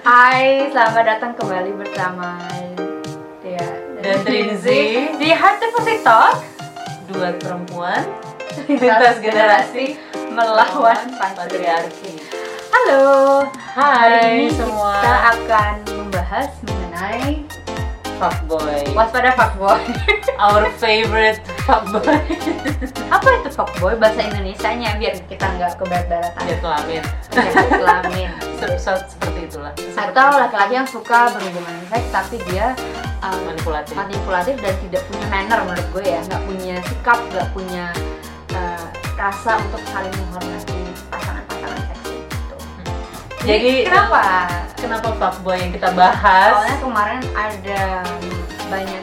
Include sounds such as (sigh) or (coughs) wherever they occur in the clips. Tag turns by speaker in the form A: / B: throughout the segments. A: Hai, selamat datang kembali bersama Tia
B: Dan Trinzi.
A: di Heart to Pussy Talk
B: dua perempuan lintas generasi
A: melawan patriarki. Halo, hari ini
B: semua.
A: kita akan membahas mengenai
B: fuckboy
A: waspada fuckboy.
B: our favorite fuckboy
A: Apa itu fuckboy bahasa Indonesianya biar kita nggak kebarat-baratan
B: dia kelamin
A: penyakit kelamin.
B: Se- se- seperti itulah Seperti
A: Atau laki-laki yang suka berhubungan seks tapi dia um,
B: manipulatif
A: manipulatif dan tidak punya manner menurut gue ya nggak punya sikap nggak punya uh, rasa untuk saling menghormati pasangan-pasangan seks itu jadi
B: Jadi,
A: kenapa
B: kenapa fuckboy yang kita bahas
A: soalnya kemarin ada banyak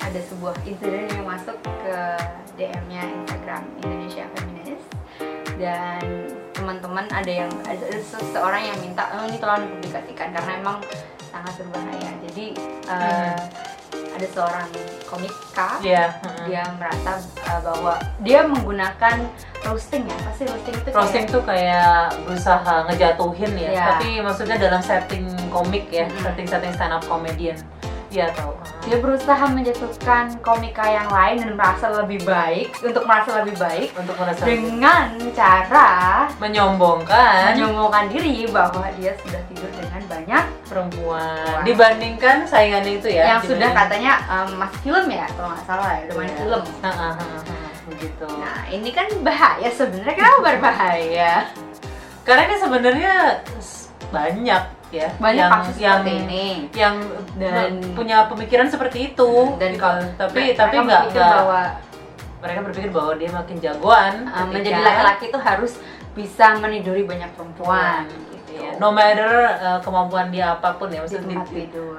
A: ada sebuah insiden yang masuk ke DM-nya Instagram Indonesia Feminist dan teman-teman ada yang ada seseorang yang minta oh, ini tolong dipublikasikan karena emang sangat berbahaya jadi uh,
B: Hmm.
A: ada seorang komika
B: ya
A: dia merasa uh, bahwa dia menggunakan roasting ya pasti roasting itu kayak-
B: Roasting tuh kayak berusaha ngejatuhin ya,
A: Iya.
B: tapi maksudnya dalam setting komik ya,
A: Mm.
B: setting-setting stand up comedian. Iya tahu.
A: dia berusaha menjatuhkan komika yang lain dan merasa lebih baik untuk merasa lebih baik
B: Untuk merasa
A: dengan cara
B: menyombongkan
A: menyombongkan diri bahwa dia sudah tidur dengan banyak
B: perempuan dibandingkan saingannya itu ya.
A: yang sudah
B: dibanding-
A: katanya um, masuk film ya kalau nggak salah ya udah main
B: Iya.
A: film
B: Ah, ah, ah, ah, begitu.
A: nah ini kan bahaya sebenarnya
B: (laughs)
A: kenapa berbahaya
B: Karena ini sebenarnya s- banyak ya
A: banyak
B: yang
A: kasus
B: yang
A: seperti ini
B: yang
A: Dan-
B: punya pemikiran seperti itu.
A: Dan-
B: Kalau- tapi
A: Mereka
B: tapi nggak
A: berpikir
B: nggak-
A: bahwa
B: mereka berpikir bahwa dia makin jagoan
A: Uh,
B: ketika-
A: menjadi laki-laki itu harus bisa meniduri banyak perempuan gitu.
B: Iya, no matter uh, kemampuan dia apapun
A: di
B: ya maksudnya
A: tempat
B: di-
A: tidur.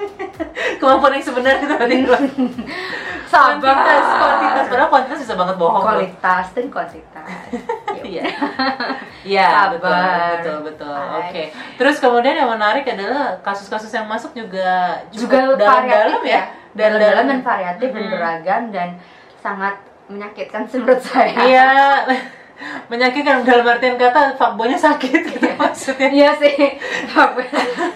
B: (laughs) kemampuan yang sebenarnya itu tadi
A: Sabar.
B: kuantitas kuantitas padahal kuantitas bisa banget bohong loh.
A: Kualitas dan kuantitas.
B: Iya. (laughs) Iya, betul,
A: Sabar.
B: betul, betul.
A: Hai.
B: Oke. Terus kemudian yang menarik adalah kasus-kasus yang masuk juga
A: Juga
B: cukup
A: variatif
B: dalam-dalam ya.
A: Dalam-dalam dan variatif dan
B: Mhm.
A: beragam dan sangat menyakitkan sih menurut saya.
B: (laughs) Iya. Menyakitkan dalam artian kata fuckboynya sakit gitu maksudnya.
A: Iya sih.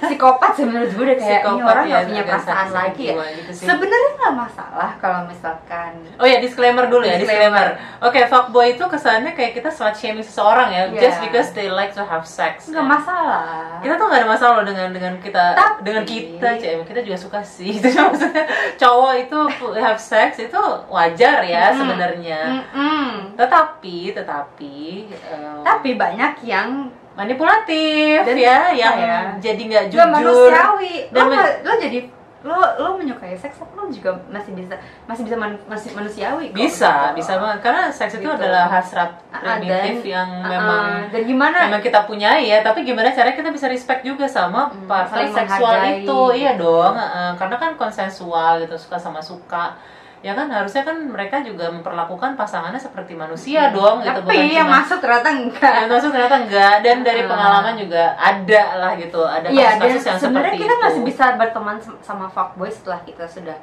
A: Psikopat sih menurut gue udah kayak ini orang
B: ya,
A: nggak punya
B: agak
A: perasaan
B: sakit
A: lagi ya.
B: jiwa gitu sih.
A: Sebenarnya nggak masalah kalau misalkan
B: Oh ya disclaimer dulu ya
A: Disclaimer.
B: disclaimer. Oke fuckboy itu kesannya kayak kita slut shaming seseorang ya
A: Iya.
B: just because they like to have sex. ya.
A: nggak masalah.
B: kita tuh nggak ada masalah loh dengan dengan kita
A: Tapi-
B: dengan kita cewek kita juga suka sih (laughs) itu maksudnya cowok itu have sex itu wajar ya
A: Mm.
B: sebenarnya
A: Mm-mm.
B: tetapi tetapi em,
A: Tapi banyak yang
B: manipulatif
A: Dan-
B: ya yang
A: ya.
B: jadi nggak
A: Gak
B: jujur
A: manusiawi.
B: Dan
A: lo,
B: men-
A: nggak- lo jadi lo lo menyukai seks tapi lo juga masih bisa masih bisa man- masih manusiawi kok.
B: bisa
A: Gitu.
B: bisa banget karena seks itu
A: Gitu.
B: adalah hasrat
A: Ah,
B: primitif
A: dan-
B: yang
A: Uh-uh.
B: memang
A: dan gimana
B: memang kita punyai ya tapi gimana caranya kita bisa respect juga sama
A: Hmm,
B: partner
A: saling
B: seksual
A: menghargai.
B: itu iya dong eh, karena kan konsensual gitu suka sama suka ya kan harusnya kan mereka juga memperlakukan pasangannya seperti manusia dong gitu
A: Hmm. tapi iya, yang
B: cuma-
A: masuk ternyata enggak
B: yang masuk ternyata enggak dan dari
A: Ah.
B: pengalaman juga ada lah gitu ada
A: Iya, dan
B: kasus-kasus yang
A: sebenarnya
B: seperti
A: kita
B: itu.
A: masih bisa berteman sem- sama fuckboy setelah kita sudah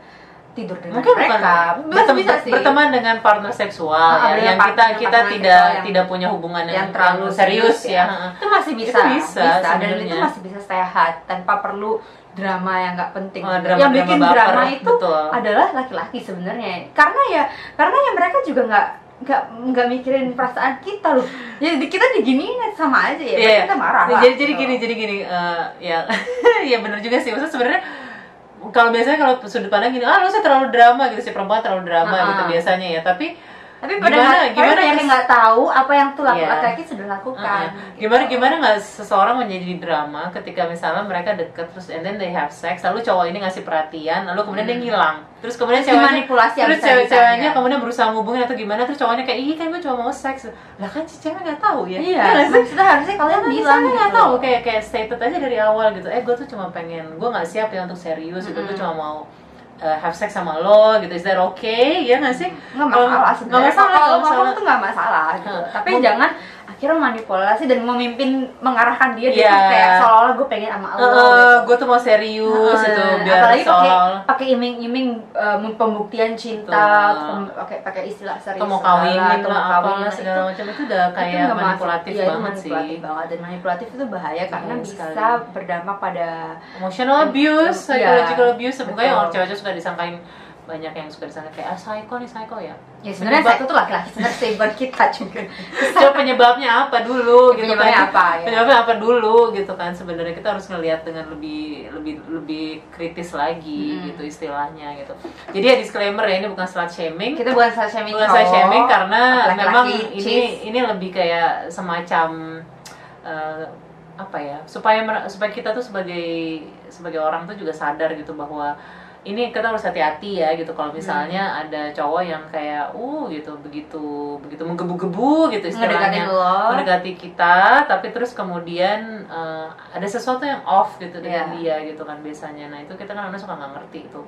A: tidur dengan
B: mungkin
A: mereka.
B: bukan
A: Masih
B: bertem-
A: bisa sih.
B: berteman dengan partner seksual
A: Ah,
B: ya,
A: dengan
B: yang kita
A: partner-
B: kita
A: partner
B: tidak
A: seksual yang-
B: tidak punya hubungan
A: yang,
B: yang,
A: terlalu
B: yang serius ya,
A: Itu masih
B: Itu
A: bisa.
B: bisa
A: dan itu
B: sebenarnya.
A: masih bisa sehat tanpa perlu drama yang nggak penting.
B: Oh, drama-
A: yang
B: drama
A: bikin
B: baper,
A: drama itu
B: betul.
A: adalah laki-laki sebenarnya. Karena ya karena ya mereka juga nggak nggak nggak mikirin perasaan kita loh. Jadi kita diginiin sama aja ya.
B: Iya,
A: Kita marah. lah,
B: Jadi jadi
A: gitu.
B: gini, jadi gini eh, ya (laughs) ya benar juga sih. Maksudnya sebenarnya kalau biasanya kalau sudut pandang gini, ah lu sih terlalu drama gitu si perempuan terlalu drama
A: Ah.
B: gitu biasanya ya. Tapi
A: Tapi pada
B: Gimana-
A: gimana,
B: gimana
A: gimana yang
B: kes-
A: nggak tahu apa yang tuh laku-
B: Iya.
A: laki-laki sudah lakukan. gitu.
B: eh, gimana gimana nggak seseorang menjadi drama ketika misalnya mereka deket terus and then they have sex, lalu cowok ini ngasih perhatian, lalu kemudian dia ngilang. Terus kemudian
A: Hmm. Terus
B: ceweknya
A: dimanipulasi
B: terus
A: habis-habisan,
B: cewek-ceweknya
A: ya.
B: kemudian berusaha ngubungin atau gimana terus cowoknya kayak ih kan gue cuma mau seks lah kan si cewek nggak tahu ya
A: Iya,
B: nggak sih?
A: maksudnya harusnya kalian
B: Kan
A: bilang
B: misalnya nggak
A: gitu.
B: tahu kayak kayak stated aja dari awal gitu eh gue tuh cuma pengen gue nggak siap ya untuk serius gitu gue
A: Mm-mm.
B: cuma mau uh, have sex sama lo gitu is that okay ya nggak sih
A: nggak masalah
B: Kalau-
A: sebenarnya
B: Oh, nggak
A: kalau
B: masalah nggak
A: ngomong
B: masalah
A: tuh nggak masalah gitu.
B: Hmm.
A: tapi
B: Mungkin-
A: jangan akhirnya manipulasi dan memimpin mengarahkan dia dia
B: Iya.
A: tuh kayak seolah-olah gue pengen sama lo
B: gue Eh, tuh mau serius
A: gitu. Heeh,
B: itu biar
A: apalagi pakai
B: seolah
A: pakai iming-iming eh, mem- pembuktian cinta
B: Betul.
A: pem- pakai pakai istilah serius
B: atau mau
A: segala,
B: kawinin
A: atau mau
B: lah apa
A: kawinin
B: lah
A: lah,
B: segala
A: itu-
B: macam itu udah
A: itu
B: kayak
A: nggak masuk.
B: manipulatif
A: Iya, itu
B: banget
A: manipulatif
B: sih
A: banget dan manipulatif itu bahaya karena
B: Iya,
A: bisa
B: sekali.
A: berdampak pada
B: emotional abuse,
A: Iya.
B: psychological abuse, sebenarnya
A: Betul.
B: orang cewek-cewek suka disangkain banyak yang suka disangka kayak ah psycho nih psycho ya.
A: ya sebenarnya
B: Penyebab-
A: saya itu laki-laki sebenarnya sabar kita
B: (laughs)
A: juga
B: Coba penyebabnya apa dulu gitu kan?
A: Penyebabnya apa, ya?
B: Penyebabnya apa dulu gitu kan? Sebenarnya kita harus ngelihat dengan lebih lebih lebih kritis lagi
A: Mm.
B: gitu istilahnya gitu. Jadi ya disclaimer ya ini bukan slut shaming.
A: kita bukan saya shaming
B: bukan saya
A: cowok,
B: shaming karena
A: laki-laki,
B: memang ini
A: cis.
B: ini lebih kayak semacam eh, apa ya supaya mer- supaya kita tuh sebagai sebagai orang tuh juga sadar gitu bahwa ini kita harus hati-hati ya gitu kalau misalnya
A: Hmm.
B: ada cowok yang kayak uh gitu begitu begitu menggebu-gebu gitu
A: ngedekatin
B: istilahnya
A: lo
B: mendekati kita tapi terus kemudian eh, ada sesuatu yang off gitu dengan
A: Iya.
B: dia gitu kan biasanya nah itu kita kan kadang suka nggak ngerti itu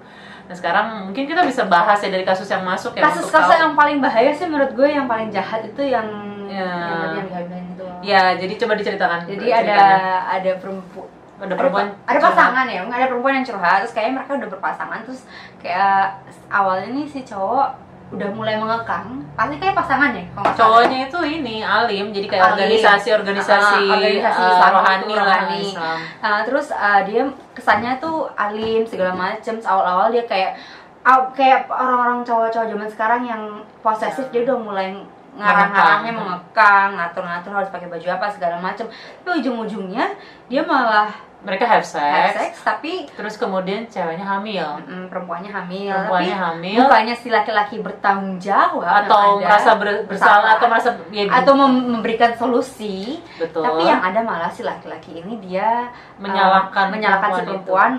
B: nah sekarang mungkin kita bisa bahas ya dari kasus yang masuk ya untuk
A: kasus-kasus
B: tahu.
A: yang paling bahaya sih menurut gue yang paling jahat itu yang
B: Ya.
A: yang tadi yang dihamilin itu
B: ya jadi coba diceritakan
A: jadi ada
B: ceritanya.
A: ada perempuan
B: ada perempuan
A: ada pasangan ya ada perempuan yang curhat terus kayaknya mereka udah berpasangan terus kayak awalnya nih si cowok udah mulai mengekang pasti kayak pasangan ya kalau nggak salah.
B: cowoknya itu ini alim jadi kayak
A: Alim.
B: organisasi-organisasi
A: Ah, organisasi
B: eh,
A: Islam,
B: rohani lah
A: rohani.
B: Islam.
A: Nah, terus uh, dia kesannya tuh alim segala macem. Terus Awal-awal dia kayak aw- kayak orang-orang cowok-cowok zaman sekarang yang posesif
B: Ya.
A: dia udah mulai ngarang-ngarangnya
B: Mengekang.
A: mengekang, ngatur-ngatur harus pakai baju apa segala macem. Tapi ujung-ujungnya dia malah
B: mereka have
A: have
B: sex,
A: sex tapi
B: terus kemudian ceweknya hamil
A: mm, perempuannya hamil.
B: perempuannya
A: tapi
B: hamil
A: bukannya si laki-laki bertanggung jawab
B: atau
A: yang Nah, ada,
B: merasa ber- bersalah atau merasa ya,
A: atau mem- memberikan solusi
B: betul
A: tapi yang ada malah si laki-laki ini dia
B: menyalahkan gitu.
A: eh, menyalahkan si
B: itu.
A: perempuan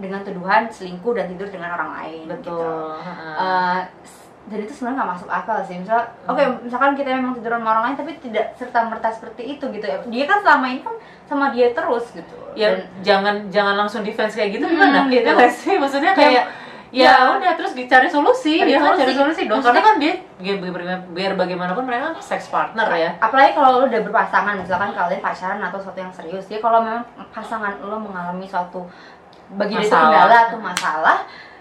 A: dengan tuduhan selingkuh dan tidur dengan orang lain
B: betul
A: gitu.
B: Heeh.
A: Eh, s- dan itu sebenarnya nggak masuk akal sih misal
B: Hmm.
A: oke misalkan kita memang tidur sama orang lain tapi tidak serta merta seperti itu gitu ya dia kan selama ini kan sama dia terus gitu
B: ya
A: Dan-
B: jangan jangan langsung defense kayak gitu
A: Hmm,
B: gimana
A: gitu.
B: ya nggak sih
A: Ya,
B: maksudnya kayak ya,
A: ya.
B: udah terus dicari solusi
A: Cari
B: dia harus cari
A: solusi.
B: solusi dong karena kan dia biar, biar- biar bagaimanapun mereka sex partner ya
A: apalagi kalau lo udah berpasangan misalkan kalian pacaran atau sesuatu yang serius ya kalau memang pasangan lo mengalami suatu bagi dia itu
B: Masalah.
A: kendala atau masalah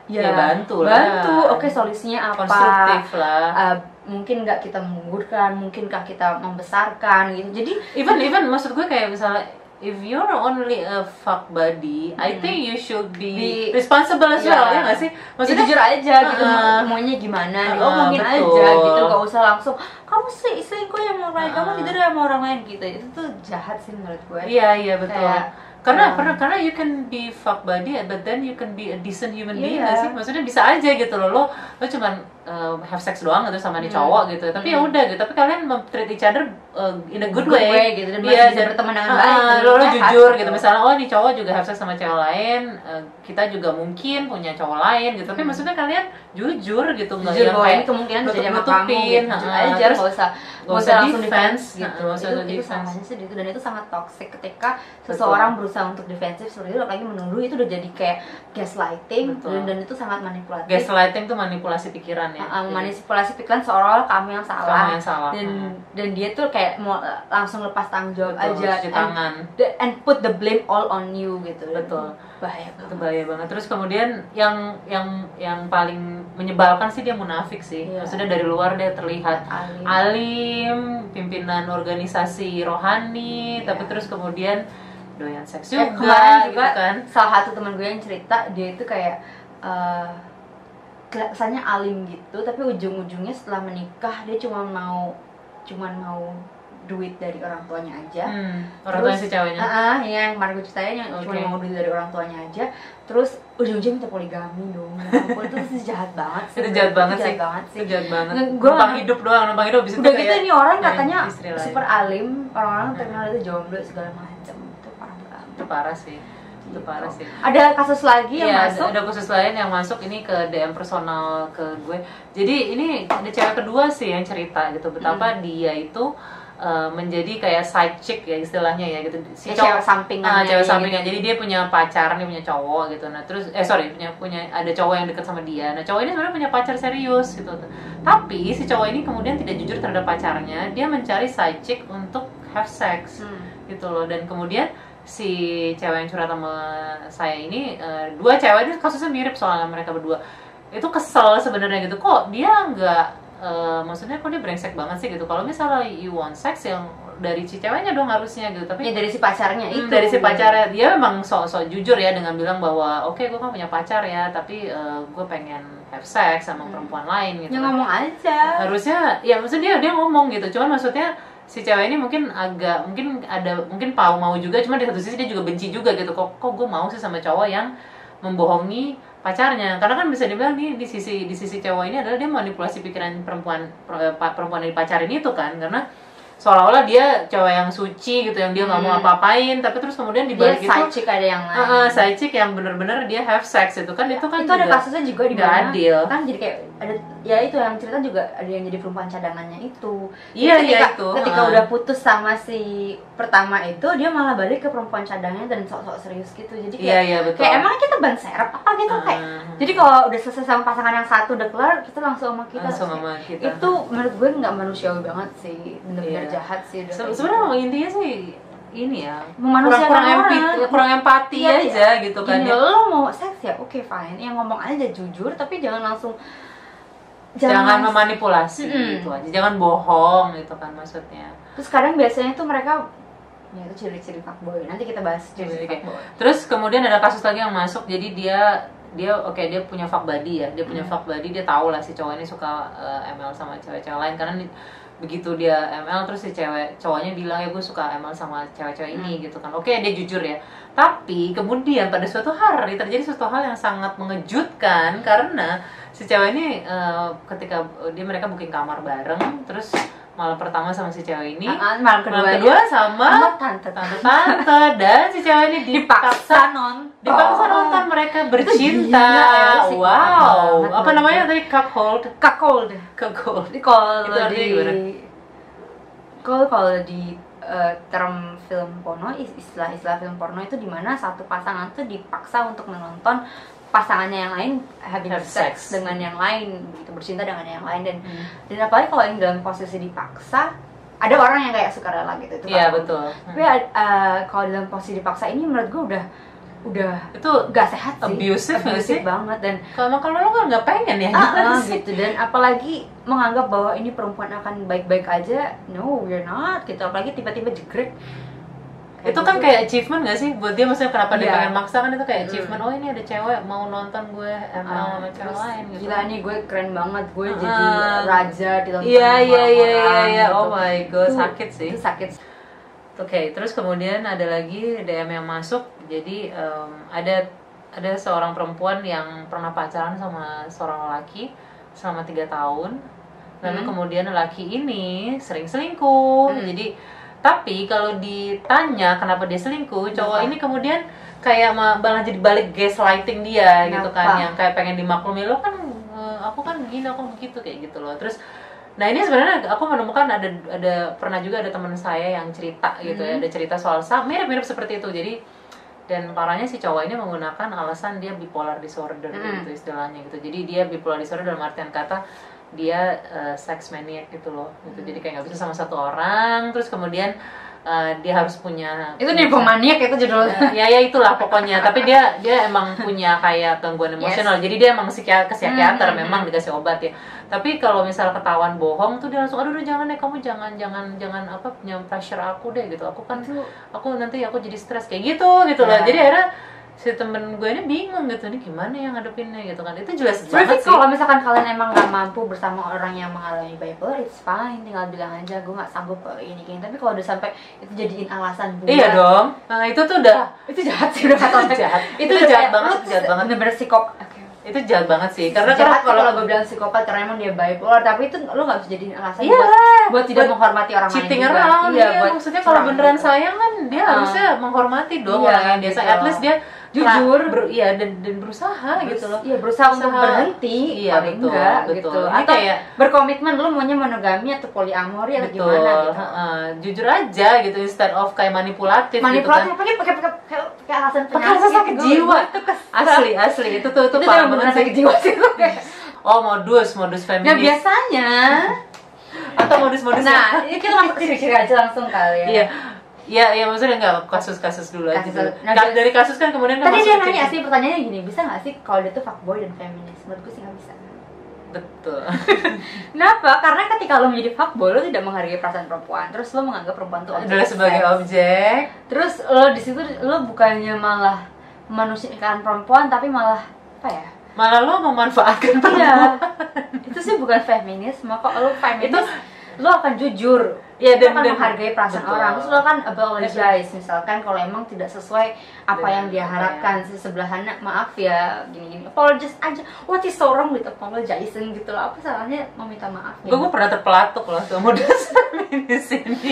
A: ya,
B: Ya, bantu lah.
A: bantu oke solusinya apa
B: konstruktif lah
A: Uh, mungkin nggak kita menggugurkan, mungkinkah kita membesarkan gitu. Jadi
B: even even maksud gue kayak misalnya if you're only a fuck buddy I think you should be,
A: Hmm. Be-
B: responsible as
A: Iya.
B: well ya nggak sih
A: maksudnya
B: maksudnya
A: jujur aja gitu,
B: Heeh.
A: maunya gimana,
B: Heeh,
A: ngomongin
B: betul.
A: aja gitu, nggak usah langsung kamu sih selingkuh yang mau lain, kamu
B: Heeh.
A: tidur sama orang lain gitu. Itu tuh jahat sih menurut gue.
B: Iya iya betul.
A: Kayak,
B: karena
A: um,
B: karena karena you can be fuck buddy but then you can be a decent human
A: Iya.
B: being nggak sih? Maksudnya bisa aja gitu loh lo lo cuman um, have sex doang gitu sama nih
A: Hmm.
B: cowok gitu. Tapi ya
A: Hmm.
B: udah gitu. Tapi kalian treat each other uh, in a good, Iya,
A: Good way, gitu, dan masih bisa
B: dan-
A: berteman dengan
B: Ah,
A: baik,
B: ah,
A: dengan
B: Lo, lo
A: sehat,
B: jujur
A: gitu.
B: gitu. Misalnya oh nih cowok juga have sex sama cewek lain, uh, kita juga mungkin punya cowok lain gitu. Tapi
A: Hmm.
B: maksudnya kalian jujur gitu nggak
A: Jujur
B: yang
A: bahwa
B: kayak
A: ini kemungkinan
B: nutup-
A: terjadi sama kamu,
B: nutupin,
A: gitu. jujur
B: ah,
A: aja,
B: terus
A: nggak usah
B: nggak
A: nggak
B: usah
A: usah langsung
B: defense,
A: defense, gitu.
B: ah, nggak usah
A: itu, itu
B: defense.
A: salahnya sih di situ. dan itu sangat toxic ketika seseorang berusaha untuk defensif seperti itu, apalagi menuduh itu udah jadi kayak gaslighting
B: Betul.
A: dan, dan itu sangat manipulatif.
B: Gaslighting tuh manipulasi pikiran ya.
A: Uh,
B: Jadi,
A: manipulasi pikiran seolah-olah kamu yang
B: kamu
A: salah
B: yang salah.
A: dan
B: ah.
A: dan dia tuh kayak mau eh, langsung lepas tanggung jawab
B: Betul,
A: aja
B: cuci
A: and,
B: tangan.
A: the- and put the blame all on you gitu Dan
B: Betul.
A: bahaya
B: itu
A: banget
B: bahaya banget terus kemudian yang yang yang paling menyebalkan sih dia munafik sih
A: Iya.
B: maksudnya dari luar dia terlihat
A: Alim.
B: alim pimpinan organisasi rohani
A: Iya.
B: tapi terus kemudian doyan seks
A: Eh,
B: juga,
A: kemarin juga
B: gitu kan
A: salah satu teman gue yang cerita dia itu kayak eh, kelihatannya alim gitu tapi ujung-ujungnya setelah menikah dia cuma mau cuman mau duit dari orang tuanya aja
B: hmm, orang tuanya
A: Terus,
B: si ceweknya
A: Ah, ah, iya, yang kemarin gue ceritain yang cuma
B: Oke.
A: mau duit dari orang tuanya aja. Terus ujung-ujungnya minta poligami dong. Ya ampun, itu sih jahat banget sih.
B: itu jahat banget sih
A: Jahat banget sih.
B: itu jahat banget
A: Nge- gua
B: numpang
A: nggak-
B: hidup doang numpang hidup abis itu
A: Udah gitu
B: kayak
A: ini orang
B: nyari
A: katanya
B: istri lain. Hmm.
A: super alim, orang-orang terkenal itu jomblo segala macam. Itu parah banget.
B: itu parah sih itu
A: Gitu.
B: parah sih
A: Ada kasus lagi yang
B: Iya,
A: masuk.
B: ada khusus lain yang masuk ini ke
A: Hmm.
B: DM personal ke gue. Jadi ini ada cewek kedua sih yang cerita gitu betapa dia itu eh, menjadi kayak side chick ya istilahnya ya gitu
A: Ya,
B: si
A: cewek
B: cowok
A: sampingan
B: ah,
A: aja
B: cewek
A: gitu.
B: sampingan jadi dia punya pacar nih punya cowok gitu nah terus eh sorry punya punya ada cowok yang deket sama dia nah cowok ini sebenarnya punya pacar serius gitu tapi si cowok ini kemudian tidak jujur terhadap pacarnya dia mencari side chick untuk have sex
A: Hmm.
B: gitu loh dan kemudian si cewek yang curhat sama saya ini eh, dua cewek ini kasusnya mirip soalnya mereka berdua itu kesel sebenarnya gitu kok dia nggak eh, maksudnya kok dia brengsek banget sih gitu kalau misalnya you want sex yang dari si ceweknya dong harusnya gitu
A: Ya
B: tapi
A: dari si pacarnya itu.
B: Hmm, dari si pacarnya dia memang sok-sok jujur ya dengan bilang bahwa oke gue kan punya pacar ya tapi gue pengen have sex sama
A: Hmm.
B: perempuan lain gitu
A: Ya
B: kan
A: ngomong aja.
B: harusnya ya maksudnya dia dia ngomong gitu cuman maksudnya si cewek ini mungkin agak mungkin ada mungkin pau mau juga cuman di satu sisi dia juga benci juga gitu kok kok gue mau sih sama cowok yang membohongi pacarnya karena kan bisa dibilang nih di sisi di sisi cowok ini adalah dia manipulasi pikiran perempuan per- eh, pa- perempuan yang dipacarin itu kan karena seolah-olah dia cowok yang suci gitu yang dia nggak mau
A: Hmm.
B: apa-apain tapi terus kemudian
A: Dia
B: dibalik
A: side
B: itu
A: chick ada yang lain.
B: ah, ah, side chick yang bener-bener dia have sex itu kan itu kan
A: itu ada
B: juga
A: kasusnya juga di
B: nggak
A: mana
B: adil
A: kan jadi kayak ada ya itu yang cerita juga ada yang jadi perempuan cadangannya itu
B: Iya,
A: Jadi
B: iya
A: ketika,
B: itu.
A: ketika
B: Heeh.
A: udah putus sama si pertama itu dia malah balik ke perempuan cadangnya dan sok-sok serius gitu jadi kayak
B: iya iya betul
A: kayak emang kita ban serep apa gitu kayak
B: Ah.
A: jadi kalau udah selesai sama pasangan yang satu udah kelar kita langsung sama kita
B: langsung sama kita
A: itu menurut gue nggak manusiawi banget sih bener-bener
B: Iya.
A: jahat sih udah
B: Se-
A: kayak
B: sebenarnya
A: gitu.
B: emang intinya sih ini ya kurang
A: Memanusiakan
B: kurang
A: orang.
B: empati kurang empati
A: Iya,
B: aja gitu kan
A: Gini,
B: ya.
A: lo mau seks ya oke fine yang ngomong aja jujur tapi jangan langsung
B: jangan memanipulasi
A: Mm-mm.
B: gitu aja jangan bohong gitu kan maksudnya
A: Terus kadang biasanya tuh mereka ya itu ciri-ciri fuckboy. Nanti kita bahas ciri-ciri
B: Oke.
A: fuckboy.
B: gitu, terus kemudian ada kasus lagi yang masuk jadi dia dia oke dia punya fuck buddy ya dia punya
A: Hmm.
B: fuck buddy dia tahu lah si cowok ini suka eh, ML sama cewek-cewek lain karena ni- begitu dia ML terus si cewek cowoknya bilang ya gue suka ML sama cewek-cewek
A: Hmm.
B: ini gitu kan oke dia jujur ya tapi kemudian pada suatu hari terjadi suatu hal yang sangat mengejutkan karena si cewek ini eh, ketika eh, dia mereka booking kamar bareng terus malam pertama sama si cewek ini
A: Ah, ah, malam kedua,
B: malam kedua sama
A: sama tante
B: tante-tante dan si cewek ini dipaksa
A: dipaksa Oh. Iya, non
B: dipaksa nonton mereka bercinta
A: gila, itu
B: wow
A: banget,
B: apa
A: banget.
B: namanya tadi cuckold
A: cuckold.
B: cuckold
A: Jadi kalau
B: Itu artinya
A: di
B: gimana?
A: kalau kalau di eh, term film porno is- istilah-istilah film porno itu dimana satu pasangan tuh dipaksa untuk menonton pasangannya yang lain having
B: Have
A: sex,
B: sex.
A: dengan yang lain begitu bercinta dengan yang lain dan dan apalagi kalau yang dalam posisi dipaksa ada orang yang kayak suka rela gitu itu
B: iya
A: fuckboy.
B: betul
A: tapi eh, kalau dalam posisi dipaksa ini menurut gue udah udah
B: itu
A: gak sehat sih
B: Abusive nggak sih?
A: banget dan
B: kalau kalau lo kan nggak pengen ya
A: ah, ah,
B: (laughs) gimana sih
A: gitu dan apalagi menganggap bahwa ini perempuan akan baik-baik aja no we're not gitu apalagi tiba-tiba jegrek Kayak
B: itu kan
A: gitu.
B: kayak achievement gak sih buat dia maksudnya kenapa dia
A: Iya.
B: pengen maksa kan itu kayak
A: Mm.
B: achievement oh ini ada cewek mau nonton gue ML
A: Ah,
B: sama cewek
A: terus,
B: lain gitu
A: gila nih gue keren banget gue jadi
B: Ah.
A: raja di
B: iya iya iya iya iya oh my god
A: Itu-
B: sakit sih
A: gitu. itu sakit
B: Oke, terus kemudian ada lagi DM yang masuk. Jadi em, ada ada seorang perempuan yang pernah pacaran sama seorang laki selama tiga tahun. Lalu
A: Hmm.
B: kemudian laki ini sering
A: Hmm.
B: selingkuh. Jadi tapi kalau ditanya kenapa dia selingkuh, cowok
A: Kenapa?
B: ini kemudian kayak ma- malah jadi balik gaslighting dia gitu
A: Kenapa?
B: kan yang kayak pengen dimaklumi lo kan eh, aku kan begini aku begitu kayak gitu loh terus nah ini sebenarnya aku menemukan ada ada pernah juga ada teman saya yang cerita gitu
A: Mhm.
B: ya ada cerita soal sam mirip-mirip seperti itu jadi dan parahnya si cowok ini menggunakan alasan dia bipolar disorder
A: Mhm.
B: gitu istilahnya gitu jadi dia bipolar disorder dalam artian kata dia eh, sex maniac gitu loh gitu jadi kayak nggak bisa sama satu orang terus kemudian eh, dia harus punya
A: itu nipomaniak itu judulnya (laughs)
B: ya ya itulah pokoknya tapi dia dia emang punya kayak gangguan emosional jadi dia emang psikia- ke psikiater
A: Hmm, hmm,
B: memang dikasih obat ya tapi kalau misal ketahuan bohong tuh dia langsung aduh aduh, jangan deh kamu jangan jangan jangan apa punya pressure aku deh gitu aku kan
A: Itu-
B: aku nanti aku jadi stres kayak gitu gitu loh
A: Ya.
B: jadi akhirnya si temen gue ini bingung gitu ini gimana yang ngadepinnya gitu kan itu jelas
A: Sebenarnya
B: banget
A: sih
B: sih
A: kalau misalkan kalian emang nggak mampu bersama orang yang mengalami bipolar, it's fine. Tinggal bilang aja, gue nggak sanggup eh, ini gini. Tapi kalau udah sampai itu jadiin alasan buat,
B: iya dong nah itu tuh udah
A: itu jahat sih udah kata orang. (laughs)
B: Jahat. Itu
A: udah
B: jahat
A: kayak,
B: banget,
A: lu tuh
B: jahat banget.
A: Bener-bener psikopat. Oke.
B: itu jahat banget sih karena
A: jahat
B: kalau
A: sih kalau,
B: kalau
A: gue bilang psikopat karena emang dia bipolar, tapi itu lo nggak bisa jadiin alasan
B: Iya
A: buat,
B: lah,
A: buat tidak
B: buat
A: menghormati orang lain.
B: cheating
A: juga.
B: around
A: iya,
B: iya,
A: buat
B: maksudnya kalau
A: curang
B: beneran
A: gitu.
B: sayang kan dia
A: Ah.
B: harusnya menghormati dong
A: Iya,
B: orang yang biasa
A: gitu.
B: at least dia jujur
A: Nah,
B: ber- iya dan, dan berusaha
A: Berus-
B: gitu loh
A: Iya berusaha untuk
B: Usaha.
A: berhenti,
B: Iya,
A: paling
B: betul,
A: enggak
B: betul.
A: gitu.
B: Ini
A: Atau
B: kayak-
A: berkomitmen lu maunya monogami atau poliamori atau
B: betul
A: gimana gitu.
B: Heeh, jujur aja gitu instead of kayak manipulatif,
A: Manipulatif
B: gitu kan
A: pakai pakai pakai pakai- Iya, pakai alasan
B: Pakai alasan sakit
A: Gua-
B: jiwa.
A: gua Itu kes-
B: asli asli itu tuh itu,
A: itu
B: parah
A: memang beneran
B: banget
A: sakit
B: sih.
A: jiwa sih Iya. gue.
B: oh modus modus feminis
A: Nah biasanya,
B: atau modus modus
A: nah ini kita masuk ke ciri-ciri aja langsung kali ya.
B: iya Iya, iya maksudnya nggak kasus-kasus dulu aja
A: Kasus-
B: dulu.
A: nah,
B: Ka-
A: dia-
B: dari kasus kan kemudian kan
A: Tadi
B: masuk
A: dia
B: ke
A: nanya
B: ciri-
A: sih pertanyaannya gini, bisa nggak sih kalau dia tuh fuckboy dan feminis? Menurut gue sih nggak bisa.
B: Betul.
A: Kenapa? Karena ketika lo menjadi fuckboy, lo tidak menghargai perasaan perempuan. Terus lo menganggap perempuan itu
B: Adalah sebagai objek.
A: Terus lo di situ lo bukannya malah memanusiakan perempuan, tapi malah apa ya?
B: Malah lo memanfaatkan
A: Iya.
B: perempuan.
A: itu sih bukan feminis, maka lo feminis lo akan jujur.
B: Iya,
A: Lo
B: dan-
A: akan
B: dan-
A: menghargai perasaan
B: betul.
A: orang. Terus lo akan apologize misalkan kalau emang tidak sesuai apa
B: Dengan
A: yang dia
B: apa ya.
A: harapkan si sebelahnya maaf ya gini-gini. Apologize aja. What is so wrong with apologizing gitu loh. Apa salahnya meminta maaf? ya?
B: gue gue pernah terpelatuk loh sama (laughs) modus feminis
A: (laughs)
B: ini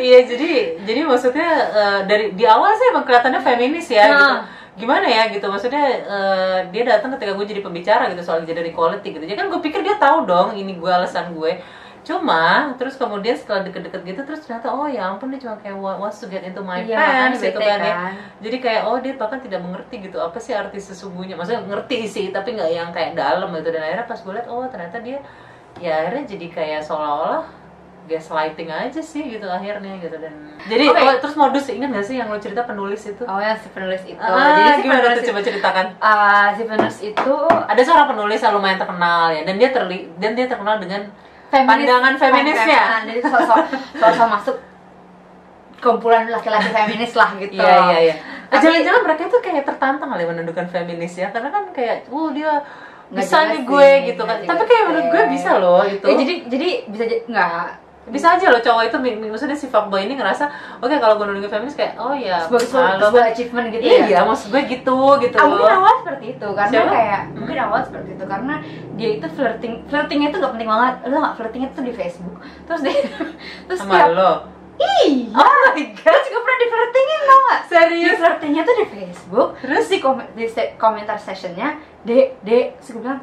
B: iya jadi jadi maksudnya eh, dari di awal sih emang kelihatannya feminis ya
A: Nah.
B: gitu gimana ya gitu maksudnya eh, dia datang ketika gue jadi pembicara gitu soal gender equality gitu jadi kan gue pikir dia tahu dong ini gue alasan gue cuma terus kemudian setelah deket-deket gitu terus ternyata oh ya ampun dia cuma kayak wa- wants to get into my
A: Iya, makanya
B: pants gitu
A: bete
B: kan ya
A: kan.
B: jadi kayak oh dia bahkan tidak mengerti gitu apa sih arti sesungguhnya maksudnya ngerti sih tapi nggak yang kayak dalam gitu dan akhirnya pas gue liat oh ternyata dia ya akhirnya jadi kayak seolah-olah gaslighting aja sih gitu akhirnya gitu dan jadi
A: Oke.
B: oh, terus modus ingat gak sih yang lo cerita penulis itu
A: Oh ya si penulis itu.
B: ah,
A: Jadi si
B: gimana
A: penulis
B: tuh
A: itu,
B: coba ceritakan
A: Ah, si penulis itu
B: ada seorang penulis yang lumayan terkenal ya dan dia terli dan dia terkenal dengan
A: feminis- Oh, ah,
B: pandangan ya? feminisnya
A: pandangan. Jadi sosok sosok masuk kumpulan laki-laki feminis lah gitu.
B: Iya iya iya. Ah,
A: Tapi-
B: Jangan-jangan mereka tuh kayak tertantang kali menundukkan feminis ya, karena kan kayak, uh dia
A: Nggak
B: bisa
A: jelas
B: nih
A: sih,
B: gue gitu kan.
A: nggak
B: Tapi
A: jelas
B: kayak menurut gue
A: sih.
B: bisa loh gitu. itu.
A: Ya, jadi jadi bisa jadi nggak
B: bisa aja loh cowok itu, mi- mi- maksudnya si fuckboy ini ngerasa, oke kalau gue nundukkan feminis kayak, oh ya,
A: sebagai sebuah,
B: halo.
A: sebuah achievement gitu ya.
B: Iya, maksud gue gitu gitu.
A: Ah, mungkin awal seperti itu karena
B: Siapa? Hmm.
A: kayak mungkin awal seperti itu karena dia itu flirting flirtingnya itu gak penting banget lo nggak flirtingnya itu di Facebook terus dia (laughs) terus
B: sama
A: tiap-
B: lo.
A: iya
B: Oh my
A: Gue
B: god.
A: juga pernah di flirtingin tau gak? Di
B: Serius?
A: flirtingnya tuh di Facebook Terus di, kom- di se- komentar sessionnya Dek, dek, terus gue bilang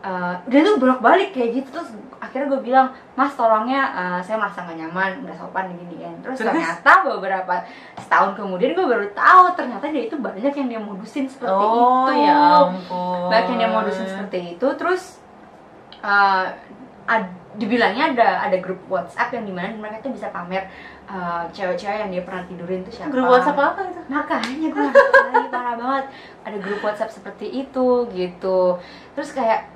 A: eh, Dia tuh bolak-balik kayak gitu Terus akhirnya gue bilang Mas tolongnya eh, saya merasa gak nyaman, gak sopan gini kan Terus,
B: Terus?
A: ternyata beberapa setahun kemudian gue baru tahu Ternyata dia itu banyak yang dia modusin seperti
B: Oh
A: itu
B: ya ampun.
A: banyak yang dia modusin seperti itu terus eh, ad- dibilangnya ada ada grup WhatsApp yang dimana mereka tuh bisa pamer eh, cewek-cewek yang dia pernah tidurin tuh siapa
B: Grup WhatsApp apa itu?
A: makanya gue
B: (laughs)
A: nggak tahu lagi parah banget ada grup WhatsApp seperti itu gitu terus kayak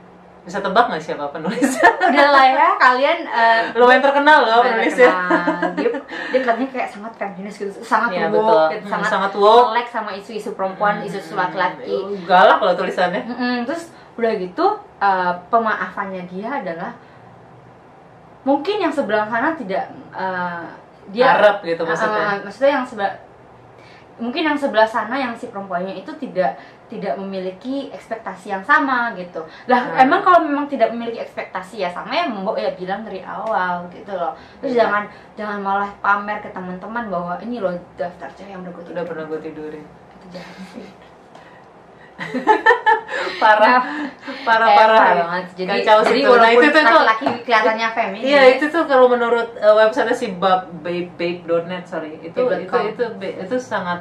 B: Bisa tebak nggak siapa penulis?
A: udah lah ya kalian eh,
B: (laughs) Lumayan terkenal
A: banyak
B: loh penulisnya.
A: kenal. dia dia kelihatannya kayak sangat feminis gitu sangat
B: ya. Iya,
A: woke
B: betul.
A: gitu,
B: Hmm,
A: sangat
B: sangat woke.
A: melek sama isu-isu perempuan isu-isu laki-laki
B: Hmm, Galak loh tulisannya.
A: Mm-mm, terus udah gitu uh, pemaafannya dia adalah mungkin yang sebelah sana tidak uh, dia
B: Arab gitu
A: Uh,
B: maksudnya.
A: maksudnya yang sebelah mungkin yang sebelah sana yang si perempuannya itu tidak tidak memiliki ekspektasi yang sama gitu. Lah
B: Hmm.
A: emang kalau memang tidak memiliki ekspektasi ya sama ya mbok ya bilang dari awal gitu loh. Terus
B: Iya.
A: jangan jangan malah pamer ke teman-teman bahwa ini loh daftar cewek yang udah gue
B: udah
A: tidur."
B: pernah gue tidurin
A: Itu jahat sih.
B: parah parah
A: Kayak
B: parah
A: Nah, banget. Jadi,
B: Kacau sih
A: jadi
B: tuh. Nah,
A: walaupun
B: itu tuh- itu-
A: laki-laki kelihatannya feminis.
B: iya itu tuh kalau menurut uh, website si bab babe babe.net sorry itu
A: Babe.com.
B: itu itu ba- itu sangat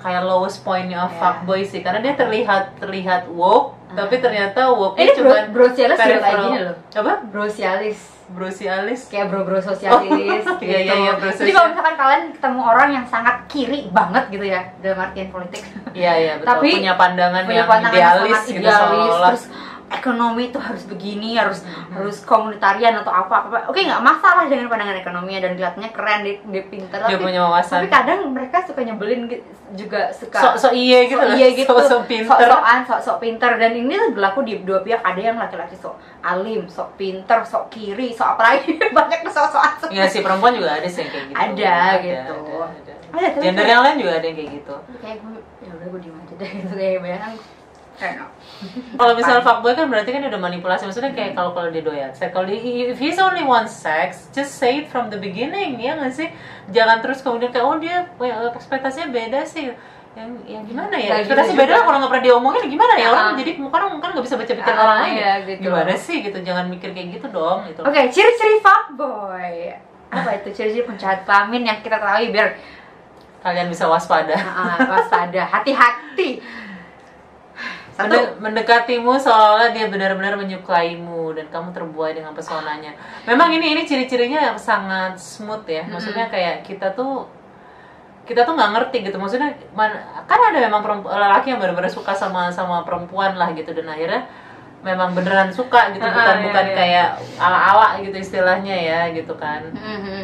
B: kayak lowest pointnya of
A: Iya. Ah.
B: fuckboy sih karena dia terlihat terlihat woke tapi ternyata woke
A: Ini bro,
B: cuma
A: bro sialis juga kayak
B: peripheral.
A: gini loh.
B: apa
A: Bro sialis.
B: brosialis
A: Kayak bro-bro sosialis
B: Oh,
A: gitu.
B: iya, iya, iya, bro
A: Jadi kalau
B: sosialis.
A: misalkan kalian ketemu orang yang sangat kiri banget gitu ya dalam artian politik.
B: iya iya betul
A: Tapi
B: punya pandangan
A: Punya
B: yang
A: pandangan yang
B: idealis
A: sangat
B: gitu
A: idealis,
B: seolah-olah
A: terus ekonomi itu harus begini, harus harus komunitarian atau apa apa. Oke, nggak masalah dengan pandangan ekonominya dan kelihatannya keren, dia, dia pinter tapi
B: dia punya wawasan
A: tapi kadang mereka suka nyebelin gitu- juga suka
B: sok sok iya gitu
A: sok
B: loh
A: iya gitu
B: sok sok pinter
A: sok-sokan sok-sok pinter dan ini tuh berlaku di dua pihak ada yang laki-laki sok alim sok pinter sok kiri sok apa lagi (laughs) banyak tuh sok-sokan sok-
B: Iya sih perempuan juga ada sih yang kayak gitu.
A: Ada, gitu.
B: ada, ada.
A: Ada, tapi
B: Gender
A: kayak-
B: yang lain juga ada yang kayak gitu.
A: kayak gue ya udah gue diem aja deh (laughs) gitu kayak bayangkan kayak no.
B: Kalau misalnya fuckboy kan berarti kan dia udah manipulasi. Maksudnya
A: Hmm.
B: kayak kalau kalau dia doyan seks, kalau dia if he's only one sex, just say it from the beginning ya nggak sih? Jangan terus kemudian kayak oh dia well, ekspektasinya beda sih. yang yang gimana
A: Kayak
B: ya
A: gitu
B: ekspektasi
A: juga.
B: beda lah kalau nggak pernah diomongin gimana ya orang
A: Ah.
B: jadi kadang kan nggak bisa baca pikiran
A: Ah,
B: orang lain
A: iya,
B: ya.
A: gitu.
B: gimana sih gitu jangan mikir kayak gitu dong gitu
A: Oke, ciri-ciri fuckboy. Apa itu ciri-ciri penjahat kelamin yang kita ketahui (laughs) biar
B: kalian bisa waspada
A: ah, waspada, hati-hati. Satu,
B: Mende- mendekatimu seolah-olah dia benar-benar menyukaimu dan kamu terbuai dengan pesonanya. Memang ini ini ciri-cirinya sangat smooth ya. Maksudnya kayak kita tuh kita tuh nggak ngerti gitu. Maksudnya man- kan ada memang perempu- lelaki yang benar-benar suka sama sama perempuan lah gitu dan akhirnya memang beneran suka gitu
A: Ah,
B: bukan
A: iya,
B: bukan
A: iya.
B: kayak ala-ala gitu istilahnya ya gitu kan.
A: Mhm.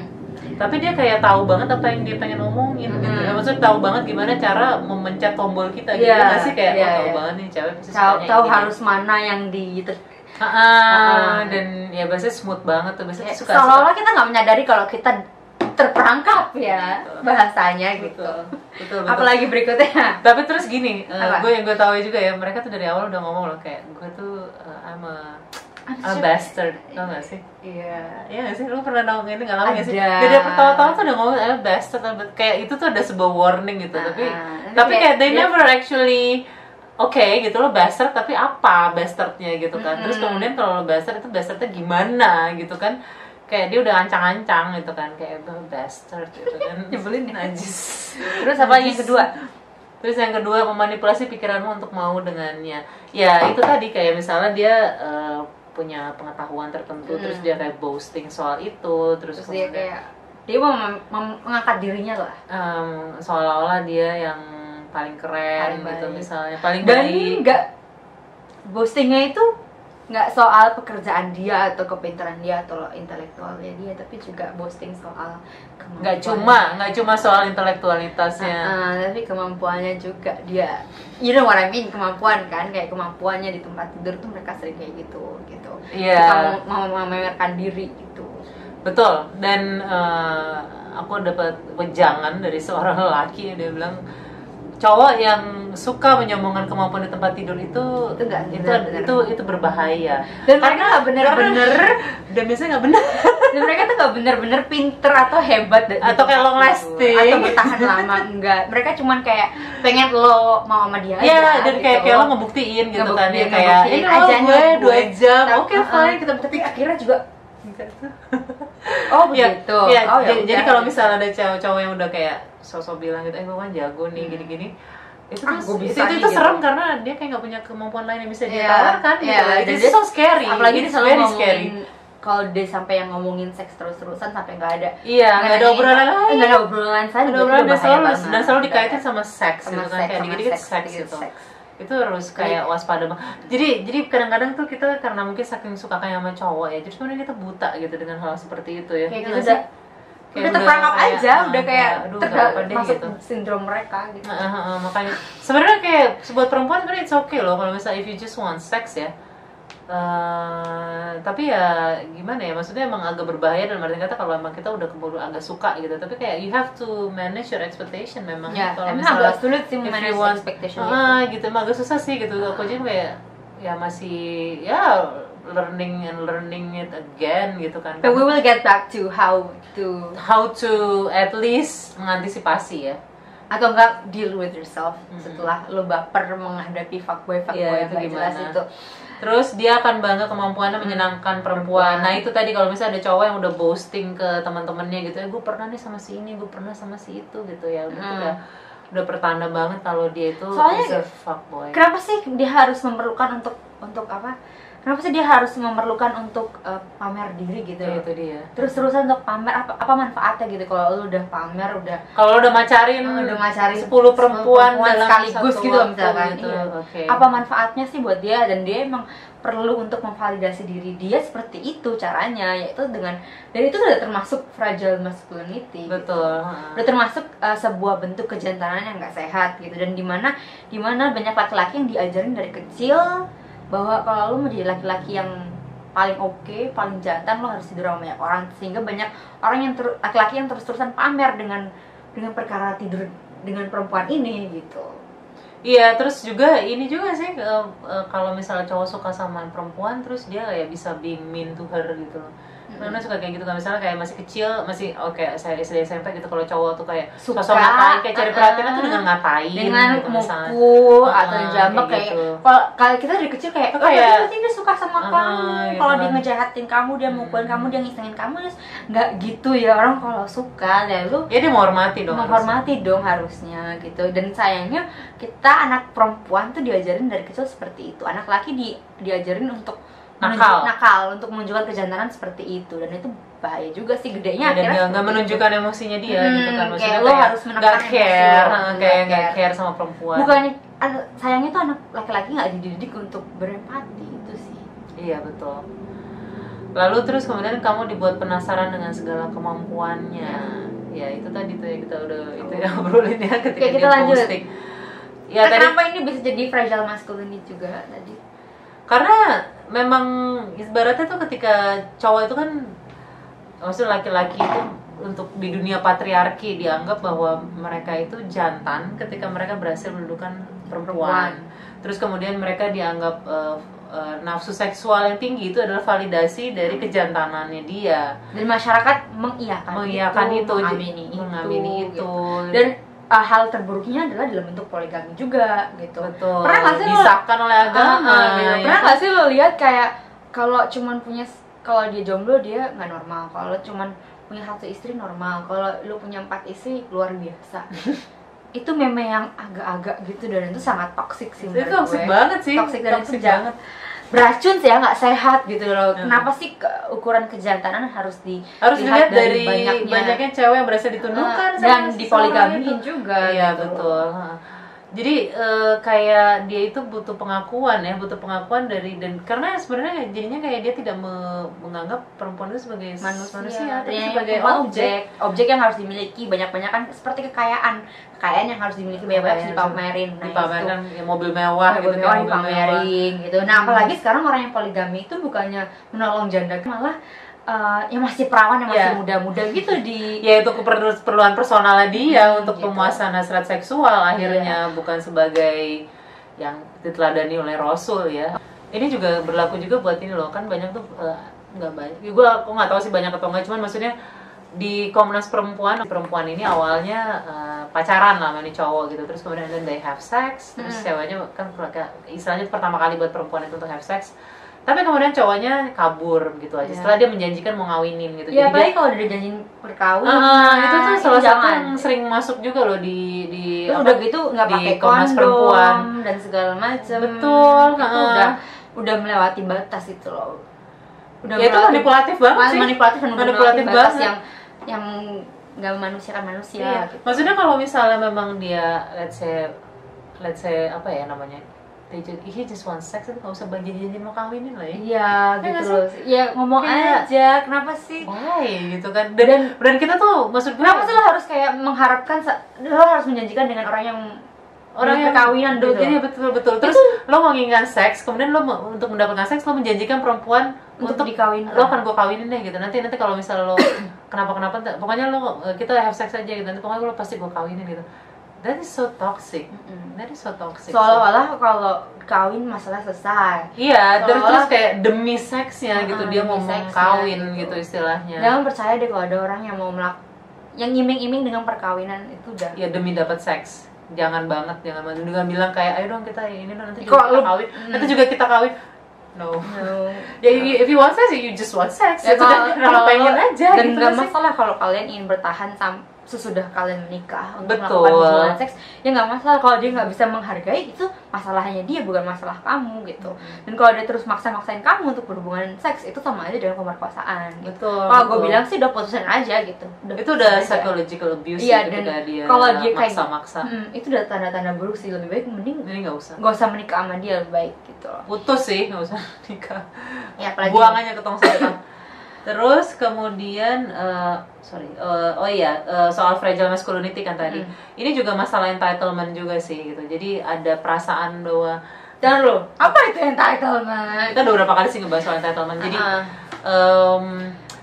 B: Tapi dia kayak tahu banget apa yang dia pengen omongin gitu.
A: Mm.
B: Maksudnya tahu banget gimana cara memencet tombol kita gitu.
A: Iya,
B: Nggak sih kayak
A: iya,
B: oh, tahu
A: iya.
B: banget nih cewek pasti
A: tahu
B: sukanya
A: tahu
B: yang gini.
A: harus mana yang di
B: Ah,
A: Ah.
B: dan ya biasanya smooth banget tuh biasanya suka
A: seolah-olah kita nggak menyadari kalau kita terperangkap ya
B: Betul.
A: bahasanya
B: gitu.
A: gitu.
B: Betul, betul.
A: Apalagi berikutnya.
B: Tapi terus gini, eh,
A: Apa?
B: gue yang gue tahu juga ya, mereka tuh dari awal udah ngomong loh kayak gue tuh eh, I'm a, a bastard, tau gak sih?
A: Iya.
B: Iya gak sih? Lu pernah nongkrong ini ngalamin gak sih?
A: Ada.
B: Dari pertama-tama tuh udah ngomong I'm a bastard, I'm a-" kayak itu tuh ada sebuah warning gitu,
A: Ah,
B: tapi
A: ah.
B: tapi kayak they
A: Dia-
B: never actually Oke gitu lo bastard tapi apa bastardnya gitu kan Terus
A: Mm-mm.
B: kemudian kalau lo bastard itu bastardnya gimana gitu kan Kayak dia udah ancang-ancang gitu kan Kayak "Lo bastard gitu kan
A: (laughs)
B: Nyebelin najis
A: Terus apa yang kedua?
B: Terus yang kedua memanipulasi pikiranmu untuk mau dengannya. Ya itu tadi kayak misalnya dia eh, punya pengetahuan tertentu,
A: Hmm.
B: terus dia kayak boasting soal itu, terus,
A: Terus dia
B: kemudian,
A: kayak dia mau mem- mem- mengangkat dirinya lah.
B: em, seolah-olah dia yang paling
A: Paling
B: keren gitu
A: baik.
B: misalnya, paling
A: dan
B: baik.
A: nggak boostingnya itu nggak soal pekerjaan dia atau kepintaran dia atau intelektualnya dia tapi juga boosting soal kemampuan
B: Nggak cuma, ya. nggak cuma soal intelektualitasnya.
A: Ah, ah, tapi kemampuannya juga dia you know what I mean kemampuan kan kayak kemampuannya di tempat tidur tuh mereka sering kayak gitu gitu
B: Iya.
A: Suka mau mau- memamerkan diri gitu
B: Betul. Dan eh, aku dapat wejangan dari seorang lelaki dia bilang cowok yang suka menyombongkan kemampuan di tempat tidur itu
A: Itu nggak
B: itu,
A: benar-benar.
B: itu itu berbahaya.
A: dan mereka nggak bener-bener (laughs)
B: dan biasanya nggak bener
A: dan mereka tuh nggak bener-bener pinter atau hebat dan-
B: Atau kayak long lasting.
A: atau bertahan lama enggak mereka cuman kayak pengen lo mau sama dia
B: ya
A: aja,
B: dan
A: gitu.
B: kayak kayak lo ngebuktiin gitu kan
A: Ngebuktiin,
B: ya kayak
A: ngebuktiin
B: ini aja
A: aja
B: gue
A: nih
B: dua
A: Iya, gue."
B: jam
A: Tapi-
B: oke
A: uh-uh,
B: fine kita
A: tapi
B: buktiin
A: akhirnya juga
B: (laughs)
A: oh
B: ya,
A: begitu
B: ya,
A: oh,
B: jadi, jadi
A: udah.
B: kalau misalnya ada cowok-cowok yang udah kayak sosok bilang gitu eh gue kan jago nih gini-gini itu tuh
A: Hmm. Ah, gua
B: itu,
A: bisa
B: itu,
A: nih,
B: itu
A: gitu.
B: serem karena dia kayak nggak punya kemampuan lain yang bisa dia
A: Iya,
B: tawarkan gitu
A: iya,
B: loh.
A: dan
B: It's
A: dia-
B: so scary
A: apalagi dia
B: It's
A: selalu
B: very
A: ngomongin kalau dia sampai yang ngomongin seks terus-terusan sampai nggak ada
B: iya nggak ada
A: ini-
B: obrolan lain
A: nggak ada obrolan saya
B: ada obrolan dan selalu dan selalu dikaitin sama seks
A: sama
B: gitu kan
A: seks
B: kayak
A: sama
B: dikit-dikit
A: seks,
B: seks
A: dikit-dikit
B: gitu
A: seks.
B: itu harus
A: Iya.
B: kayak waspada banget jadi jadi kadang-kadang tuh kita karena mungkin saking suka kayak sama cowok ya jadi sebenarnya kita buta gitu dengan hal seperti itu ya
A: kayak
B: Iya
A: gitu
B: nggak
A: udah
B: sih?
A: udah
B: Kayak
A: terperangkap
B: kayak,
A: aja
B: ah,
A: udah kayak
B: aduh
A: terda-
B: nggak apa deh
A: masuk
B: gitu
A: sindrom mereka gitu
B: Heeh, heeh, makanya sebenarnya kayak buat perempuan sebenarnya it's okay loh kalau misalnya if you just want sex ya Eh, tapi ya gimana ya maksudnya emang agak berbahaya dan arti kata kalau emang kita udah keburu agak suka gitu tapi kayak you have to manage your expectation memang
A: ya
B: kalau
A: emang
B: misalnya-
A: agak sulit sih
B: if
A: memanage
B: you want-
A: expectation itu.
B: Ah, gitu emang agak susah sih gitu. Aku aja kayak ya masih ya learning and learning it again gitu kan.
A: But we will get back to how to
B: How to at least mengantisipasi ya.
A: atau enggak deal with yourself
B: Mhm.
A: setelah lo baper menghadapi fuckboy fuckboy yang
B: Iya, itu
A: gak jelas
B: gimana?
A: itu Hmm,
B: Terus dia akan bangga kemampuannya menyenangkan perempuan. Nah itu tadi kalau misalnya ada cowok yang udah boasting ke teman-temannya gitu, ya gue pernah nih sama si ini, gue pernah sama si itu gitu ya. Udah
A: Hmm.
B: udah, udah pertanda banget kalau dia itu
A: Soalnya
B: is a fuckboy.
A: kenapa sih dia harus memerlukan untuk untuk apa kenapa sih dia harus memerlukan untuk eh, pamer diri gitu
B: Itu,
A: loh?
B: Iya, itu dia.
A: terus terusan untuk pamer apa apa manfaatnya gitu kalau lu udah pamer udah
B: Kalau lo udah macarin,
A: Oh, udah macarin
B: 10 Hmm, perempuan,
A: 10 perempuan
B: dalam
A: sekaligus
B: satu
A: gitu loh
B: waktu
A: misalkan,
B: gitu.
A: iya.
B: Oke.
A: apa manfaatnya sih buat dia dan dia emang perlu untuk memvalidasi diri dia seperti itu caranya yaitu dengan dan itu udah termasuk fragile masculinity gitu.
B: Betul. ha.
A: udah termasuk uh, sebuah bentuk kejantanan yang nggak sehat gitu dan dimana dimana banyak laki-laki yang diajarin dari kecil bahwa kalau lu mau jadi laki-laki yang paling oke paling jantan lo harus tidur sama banyak orang sehingga banyak orang yang ter- laki-laki yang terus-terusan pamer dengan dengan perkara tidur dengan perempuan ini gitu
B: Iya, terus juga ini juga sih eh, eh, kalau misalnya cowok suka sama perempuan terus dia kayak bisa being mean to her gitu loh. Nona suka kayak gitu kan misalnya kayak masih kecil masih oke saya SD SMP gitu kalau cowok tuh kayak
A: Suka,
B: sosok ngatain kayak cari
A: uh-uh.
B: perhatian tuh dengan ngatain
A: dengan
B: gitu misalnya.
A: mukul atau
B: Heeh,
A: jambak
B: kayak
A: kayak
B: gitu.
A: kalau kalau kita dari kecil kayak
B: Kayak-
A: oh yang penting dia suka sama
B: Heeh,
A: kamu
B: gitu
A: kalau
B: kan.
A: dia ngejahatin kamu dia mukulin
B: Hmm.
A: kamu dia ngisengin kamu terus nggak gitu ya orang kalau suka ya lu
B: Ya dia menghormati dong.
A: menghormati dong harusnya gitu dan sayangnya kita anak perempuan tuh diajarin dari kecil seperti itu anak laki di diajarin untuk menunjuk-
B: Nakal.
A: nakal untuk menunjukkan kejantanan seperti itu dan itu bahaya juga sih gedenya
B: Ya, dan
A: akhirnya
B: dia nggak
A: seperti itu.
B: menunjukkan emosinya dia gitu kan
A: Hmm,
B: maksudnya
A: kayak lo harus menekan
B: nggak
A: emosi
B: care,
A: lo,
B: heeh,
A: nggak
B: kayak nggak
A: care.
B: care sama perempuan.
A: bukannya an- sayangnya tuh anak laki-laki nggak dididik untuk berempati itu sih
B: Iya betul. Lalu terus kemudian kamu dibuat penasaran dengan segala kemampuannya. Ya itu tadi tuh ya kita udah itu yang (laughs) obrolin ya
A: Oke,
B: ketika
A: kita
B: dia
A: lanjut.
B: posting. Ya
A: Nah,
B: tadi
A: kenapa ini bisa jadi fragile masculinity juga tadi
B: karena memang ibaratnya tuh ketika cowok itu kan maksudnya laki-laki itu untuk di dunia patriarki dianggap bahwa mereka itu jantan ketika mereka berhasil mendudukan perempuan. Terus kemudian mereka dianggap eh, eh, nafsu seksual yang tinggi itu adalah validasi dari kejantanannya dia.
A: dan masyarakat mengiyakan
B: Mengiyakan itu,
A: mengamini itu,
B: mengamini itu.
A: gitu. dan uh, hal terburuknya adalah dalam bentuk poligami juga gitu
B: betul.
A: Pernah nggak sih lo-
B: disahkan oleh
A: Ah,
B: agama.
A: gitu.
B: ya
A: pernah
B: kan?
A: nggak sih lo lihat kayak kalau cuman punya kalau dia jomblo dia nggak normal kalau cuman punya satu istri normal kalau lu punya empat istri luar
B: (laughs)
A: biasa itu meme yang agak-agak gitu dan itu sangat toksik sih
B: Itu
A: menurut
B: toxic
A: gue.
B: banget sih.
A: Toxic dan
B: Toxic
A: kejam.
B: banget.
A: beracun sih ya nggak sehat gitu loh
B: Hmm.
A: kenapa sih ke- ukuran kejantanan harus di
B: Harus
A: Lihat
B: dilihat
A: dari
B: dari,
A: banyaknya.
B: banyaknya. cewek yang berhasil ditundukkan
A: Eh, dan
B: sama seseorang itu.
A: dipoligamiin juga
B: Iya
A: gitu.
B: betul. Heeh. Jadi eh, kayak dia itu butuh pengakuan ya, butuh pengakuan dari dan karena sebenarnya jadinya kayak dia tidak me- menganggap perempuan itu sebagai
A: manusia, ya,
B: tapi
A: Yang
B: sebagai
A: perempuan
B: objek.
A: objek objek yang harus dimiliki banyak-banyak kan seperti kekayaan kekayaan yang harus dimiliki banyak-banyak harus dipamerin nah,
B: dipamerkan ya, mobil
A: itu.
B: mewah
A: Mobil
B: gitu
A: mewah
B: kan, mewah.
A: dipamerin gitu nah
B: Hmm.
A: apalagi sekarang orang yang poligami itu bukannya menolong janda malah eh, yang masih perawan yang masih
B: Iya.
A: muda-muda gitu di
B: Ya itu keperlu- keperluan personalnya dia
A: Hmm,
B: untuk
A: gitu. Iya.
B: pemuasan hasrat seksual akhirnya bukan sebagai yang diteladani oleh Rasul ya. Ini juga berlaku juga buat ini loh kan banyak tuh eh, nggak banyak. Gue aku nggak tahu sih banyak atau nggak cuman maksudnya di Komnas Perempuan perempuan ini awalnya eh, pacaran lah sama nih cowok gitu terus kemudian then they have sex terus
A: Hmm.
B: ceweknya kan keluarga- istilahnya pertama kali buat perempuan itu untuk have sex tapi kemudian cowoknya kabur gitu aja
A: Iya.
B: setelah dia menjanjikan mau ngawinin gitu
A: ya
B: Jadi dia-
A: apalagi kalau udah janjiin berkawin
B: Ah,
A: nah,
B: itu tuh salah satu
A: jangan.
B: yang sering masuk juga loh di di
A: Terus
B: apa,
A: udah gitu nggak
B: di
A: pakai
B: Komnas
A: kondom
B: Perempuan.
A: dan segala macam
B: Betul, ah.
A: itu
B: heeh.
A: udah udah melewati batas itu loh udah
B: ya itu
A: melewati-
B: manipulatif banget
A: Man-
B: sih.
A: manipulatif dan
B: Manipulatif
A: manipulatif batas
B: banget.
A: yang yang nggak memanusiakan manusia
B: Iya.
A: gitu.
B: Maksudnya kalau misalnya memang dia let's say let's say apa ya namanya? They just, he just wants sex itu nggak usah janji-janji mau kawinin lah ya.
A: Iya
B: nggak
A: gitu
B: sih? Ya,
A: loh. Iya ngomong
B: Kayak-
A: aja. Kenapa sih?
B: Why gitu kan? Dan, dan, kita tuh maksud gue
A: Kenapa sih lo harus kayak mengharapkan sa- lo harus menjanjikan dengan orang yang
B: orang yang
A: perkawinan
B: gitu.
A: gitu.
B: Iya, betul betul. Terus lo menginginkan seks, kemudian lo me- untuk mendapatkan seks lo menjanjikan perempuan
A: untuk,
B: untuk,
A: dikawinkan.
B: lo akan gue kawinin deh gitu nanti nanti kalau misal lo (coughs) kenapa kenapa pokoknya lo eh, kita have sex aja gitu nanti pokoknya lo pasti gue kawinin gitu that is so toxic
A: Mm-mm.
B: that is so toxic
A: Seolah-olah kalau kawin masalah selesai.
B: iya terus
A: seolah-
B: terus kayak demi seksnya gitu
A: Mm-mm, Ah,
B: dia
A: demi
B: mau
A: seksnya
B: kawin
A: gitu.
B: gitu istilahnya
A: Jangan percaya deh kalau ada orang yang mau melak yang iming-iming dengan perkawinan itu udah
B: ya demi dapat seks jangan banget jangan banget dengan bilang kayak ayo dong kita ini dong
A: Kok
B: nanti juga kita
A: lo-
B: kawin
A: Mm.
B: nanti juga kita kawin no
A: No.
B: ya if you- if you want sex you just want sex
A: Ya,
B: ya, (laughs) sudah kalau pengen aja
A: dan
B: gitu
A: nggak
B: sih.
A: masalah kalau kalian ingin bertahan sam- sesudah kalian menikah untuk
B: Betul.
A: melakukan hubungan seks ya nggak masalah kalau dia nggak bisa menghargai itu masalahnya dia bukan masalah kamu gitu
B: Hmm.
A: dan kalau dia terus maksa-maksain kamu untuk berhubungan seks itu sama aja dengan pemerkosaan gitu
B: betul
A: kalau gue
B: betul.
A: bilang sih udah putusin aja gitu
B: itu udah
A: putusin aja.
B: psychological abuse
A: Iya,
B: ya, ketika
A: dan
B: dia
A: kalau dia kayak-
B: maksa-maksa
A: Hmm, itu udah tanda-tanda buruk sih lebih baik mending
B: jadi nggak usah
A: nggak usah menikah sama dia lebih baik gitu loh
B: putus sih nggak usah (laughs) nikah
A: ya
B: buang aja ke tong sampah terus kemudian eh, sorry eh, oh iya eh, soal fragile masculinity kan tadi
A: Hmm.
B: ini juga masalah entitlement juga sih gitu jadi ada perasaan bahwa
A: dan lo apa itu entitlement
B: kita udah berapa kali sih ngebahas soal entitlement jadi
A: Ah.
B: em,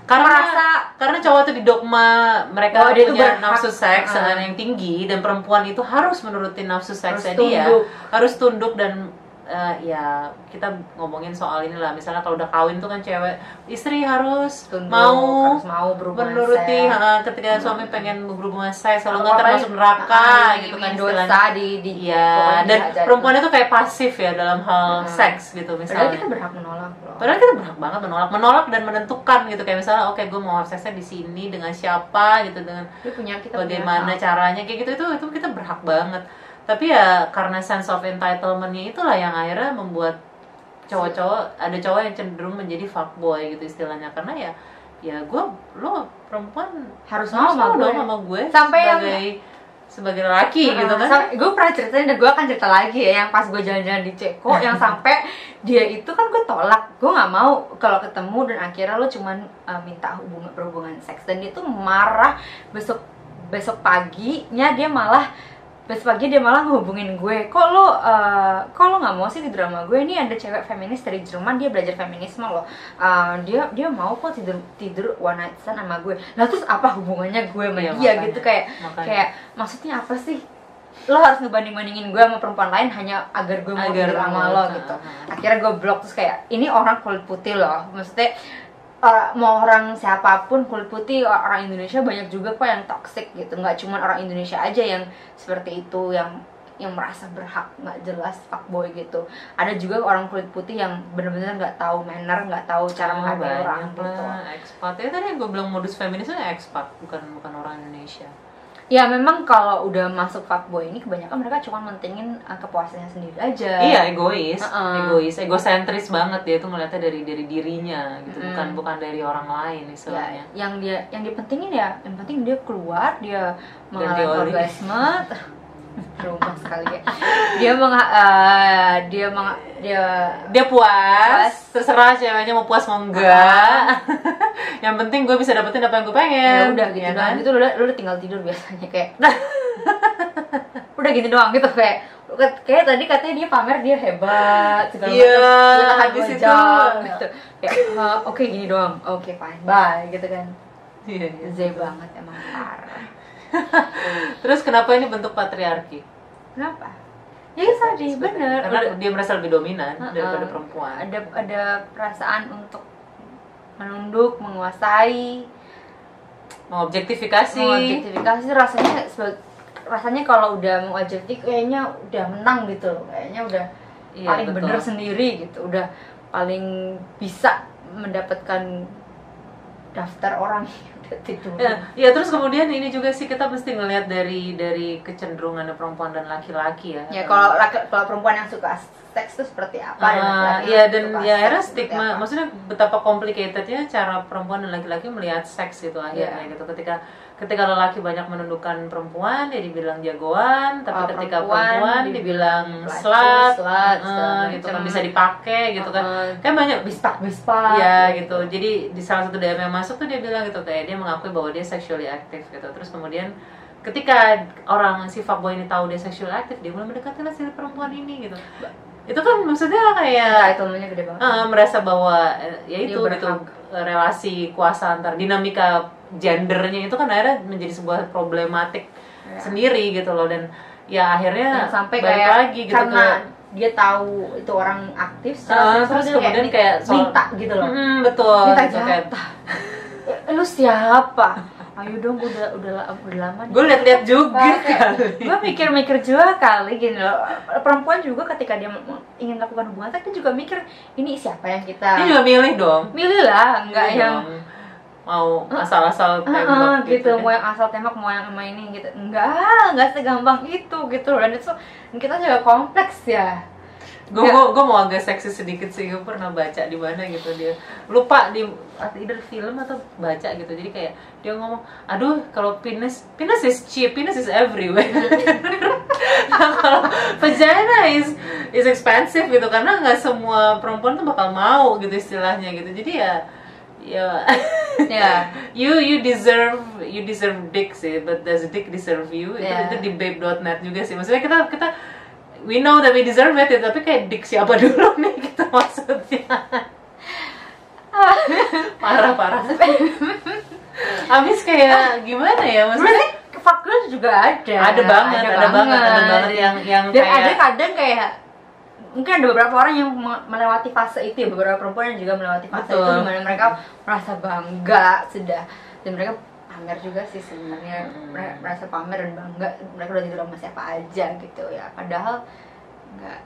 B: karena
A: Merasa-
B: karena cowok tuh didogma mereka
A: Bahwa Oh, dia tuh
B: punya
A: berhak.
B: nafsu seks
A: Ah.
B: yang tinggi dan perempuan itu harus menurutin nafsu seksnya dia
A: tunduk.
B: harus tunduk dan eh, ya kita ngomongin soal inilah misalnya kalau udah kawin tuh kan cewek istri harus
A: Tunduk,
B: mau
A: harus mau berubah
B: menuruti ha, ketika suami pengen berhubungan seks kalau nggak
A: Apalagi-
B: termasuk neraka
A: Ah,
B: gitu kan
A: dosa
B: istilahnya
A: di di
B: iya
A: pokoknya
B: dan
A: aja itu.
B: perempuan itu kayak pasif ya dalam hal
A: Hmm.
B: seks gitu
A: padahal
B: misalnya
A: kita berhak menolak loh
B: Padahal kita berhak banget menolak, menolak dan menentukan gitu kayak misalnya, oke gue mau have sexnya di sini dengan siapa gitu dengan
A: Dia punya kita punya
B: bagaimana
A: hak.
B: caranya kayak gitu itu itu kita berhak banget. Tapi ya karena sense of entitlementnya itulah yang akhirnya membuat cowok-cowok ada cowok yang cenderung menjadi fuckboy gitu istilahnya karena ya ya gue lo perempuan
A: harus mau
B: harus
A: sama
B: mau
A: gue
B: dong sama gue
A: Sampai yang- Ah,
B: sebagai sebagai laki gitu kan
A: gue pernah ceritain dan gue akan cerita lagi ya yang pas gue jalan-jalan di
B: (laughs)
A: Ceko yang sampai dia itu kan gue tolak gue nggak mau kalau ketemu dan akhirnya lo cuman eh, minta hubungan berhubungan seks dan dia tuh marah besok besok paginya dia malah besok pagi dia malah ngehubungin gue kok lo eh, kok lo nggak mau sih tidur sama gue ini ada cewek feminis dari Jerman dia belajar feminisme loh Eh, dia dia mau kok tidur tidur one night stand sama gue lah terus apa hubungannya gue sama
B: Iya,
A: dia
B: makanya.
A: gitu kayak
B: Makanya.
A: kayak maksudnya apa sih lo harus ngebanding-bandingin gue sama perempuan lain hanya agar gue mau
B: Agar
A: tidur sama
B: mau,
A: lo
B: nah.
A: gitu akhirnya gue blok terus kayak ini orang kulit putih loh maksudnya orang- mau orang siapapun kulit putih orang Indonesia banyak juga kok yang toxic gitu nggak cuma orang Indonesia aja yang seperti itu yang yang merasa berhak nggak jelas fuckboy gitu ada juga orang kulit putih yang bener-bener nggak tahu manner nggak tahu cara
B: Oh,
A: menghargai orang
B: banyak
A: gitu
B: lah, ekspat ya tadi yang gue bilang modus feminis itu ekspat bukan bukan orang Indonesia
A: Ya memang kalau udah masuk fuckboy ini kebanyakan mereka cuma mentingin uh, kepuasannya sendiri aja.
B: iya
A: Eh,
B: egois
A: Heeh.
B: egois egosentris banget dia tuh ngeliatnya dari dari dirinya gitu
A: Mm.
B: bukan bukan dari orang lain
A: Ya,
B: istilahnya
A: yang dia yang dipentingin ya, yang penting dia keluar, dia mengalami
B: dioli.
A: orgasme. (laughs) Rumah sekali ya. Dia menga- uh, dia menga- dia
B: dia puas,
A: Puas.
B: terserah ceweknya mau puas mau enggak (laughs) yang penting gue bisa dapetin apa yang gue pengen
A: ya udah gitu
B: ya
A: doang. Itu lu udah, lu udah tinggal tidur biasanya kayak. (laughs) udah gitu doang gitu kayak kayak tadi katanya dia pamer dia hebat segala
B: Iya,
A: macam. Lu tahan
B: habis
A: dua
B: itu-
A: jam, gitu. Kayak "Hah, oke gini doang. Oke fine. Bye gitu kan.
B: Iya, iya.
A: Z banget emang parah.
B: terus kenapa ini bentuk patriarki
A: Kenapa? Ya itu tadi bener.
B: karena
A: Udah-
B: dia merasa lebih dominan
A: Heeh.
B: daripada perempuan
A: Ada ada perasaan untuk menunduk, menguasai,
B: mengobjektifikasi
A: mengobjektifikasi rasanya sebagai rasanya kalau udah mengobjektif kayaknya udah menang gitu loh kayaknya udah
B: Iya,
A: paling
B: betul.
A: bener sendiri gitu udah paling bisa mendapatkan daftar orang (laughs) udah tidur
B: Ya, ya terus kemudian ini juga sih kita mesti ngelihat dari dari kecenderungan perempuan dan laki-laki ya.
A: ya kalau laki- kalau perempuan yang suka seks itu seperti apa
B: Ah,
A: laki-laki
B: ya
A: iya, yang suka
B: dan ya
A: seks
B: akhirnya
A: seperti
B: stigma,
A: apa.
B: maksudnya betapa complicatednya cara perempuan dan laki-laki melihat seks itu akhirnya
A: Iya.
B: gitu. Ketika ketika lelaki banyak menundukkan perempuan, dia dibilang jagoan, tapi
A: Ah,
B: ketika
A: perempuan
B: perempuan
A: dibilang
B: dibilang
A: pelacur,
B: slut,
A: slut,
B: eh,
A: segala Oh. Eh,
B: gitu
A: macem.
B: kan bisa dipakai gitu kan.
A: Heeh.
B: Kan banyak
A: bispak bispak
B: Iya gitu. Jadi di salah satu DM yang masuk tuh dia bilang gitu kayak dia mengakui bahwa dia sexually active gitu. Terus kemudian ketika orang si fuckboy ini tahu dia sexually active, dia mulai mendekati lah si perempuan ini gitu. Itu kan maksudnya kayak
A: entitlementnya Iya, gede banget
B: eh, merasa bahwa eh, ya
A: Dia
B: itu
A: berhak.
B: gitu relasi kuasa antar dinamika gendernya itu kan akhirnya menjadi sebuah problematik
A: Iya.
B: sendiri gitu loh dan ya
A: Dan
B: akhirnya
A: Nah, sampai
B: balik
A: kayak
B: lagi gitu
A: karena
B: ke-
A: dia tahu itu orang aktif
B: Ah,
A: secara seksual,
B: terus
A: dia
B: kemudian kayak soal-
A: minta gitu loh
B: Mm, betul
A: Minta
B: gitu, kayak-
A: "Eh, lu siapa ayo dong gua udah udah la- udah lama nih." Nah,
B: gue liat-liat juga
A: Kayak,
B: kali.
A: gue mikir-mikir juga kali gini loh perempuan juga ketika dia mau- ingin melakukan hubungan seks dia juga mikir ini siapa yang
B: Dia
A: kita
B: juga milih dong.
A: milih lah nggak
B: Milih
A: yang
B: Iya dong. mau
A: "Ah,
B: asal-asal tembak
A: ah," gitu,
B: ya.
A: mau yang asal tembak mau yang sama ini gitu enggak enggak segampang itu gitu loh. dan itu kita juga kompleks ya
B: Gue gue gue mau agak seksi sedikit sih. Gue pernah baca di mana gitu dia. Lupa di either film atau baca gitu. Jadi kayak dia ngomong, "Aduh, kalau penis penis is cheap, penis is everywhere."
A: Iya.
B: (laughs) Nah, kalau vagina is is expensive gitu karena nggak semua perempuan tuh bakal mau gitu istilahnya gitu. Jadi ya ya
A: ya
B: you you deserve you deserve dick sih but does dick deserve you itu
A: Yeah.
B: itu di babe.net juga sih maksudnya kita kita we know that we deserve it ya, tapi kayak dick siapa (laughs) dulu nih kita
A: (laughs)
B: maksudnya parah parah
A: (laughs)
B: abis kayak gimana ya maksudnya
A: Berarti fuck girls juga ada.
B: ada banget ada, banget ada banget yang yang
A: Dan
B: kayak
A: ada kadang kayak mungkin ada beberapa orang yang me- melewati fase itu ya beberapa perempuan yang juga melewati fase
B: Betul.
A: itu dimana mereka merasa bangga sudah dan mereka pamer juga sih sebenarnya
B: Hmm.
A: Mere- merasa pamer dan bangga mereka udah tidur sama siapa aja gitu ya padahal nggak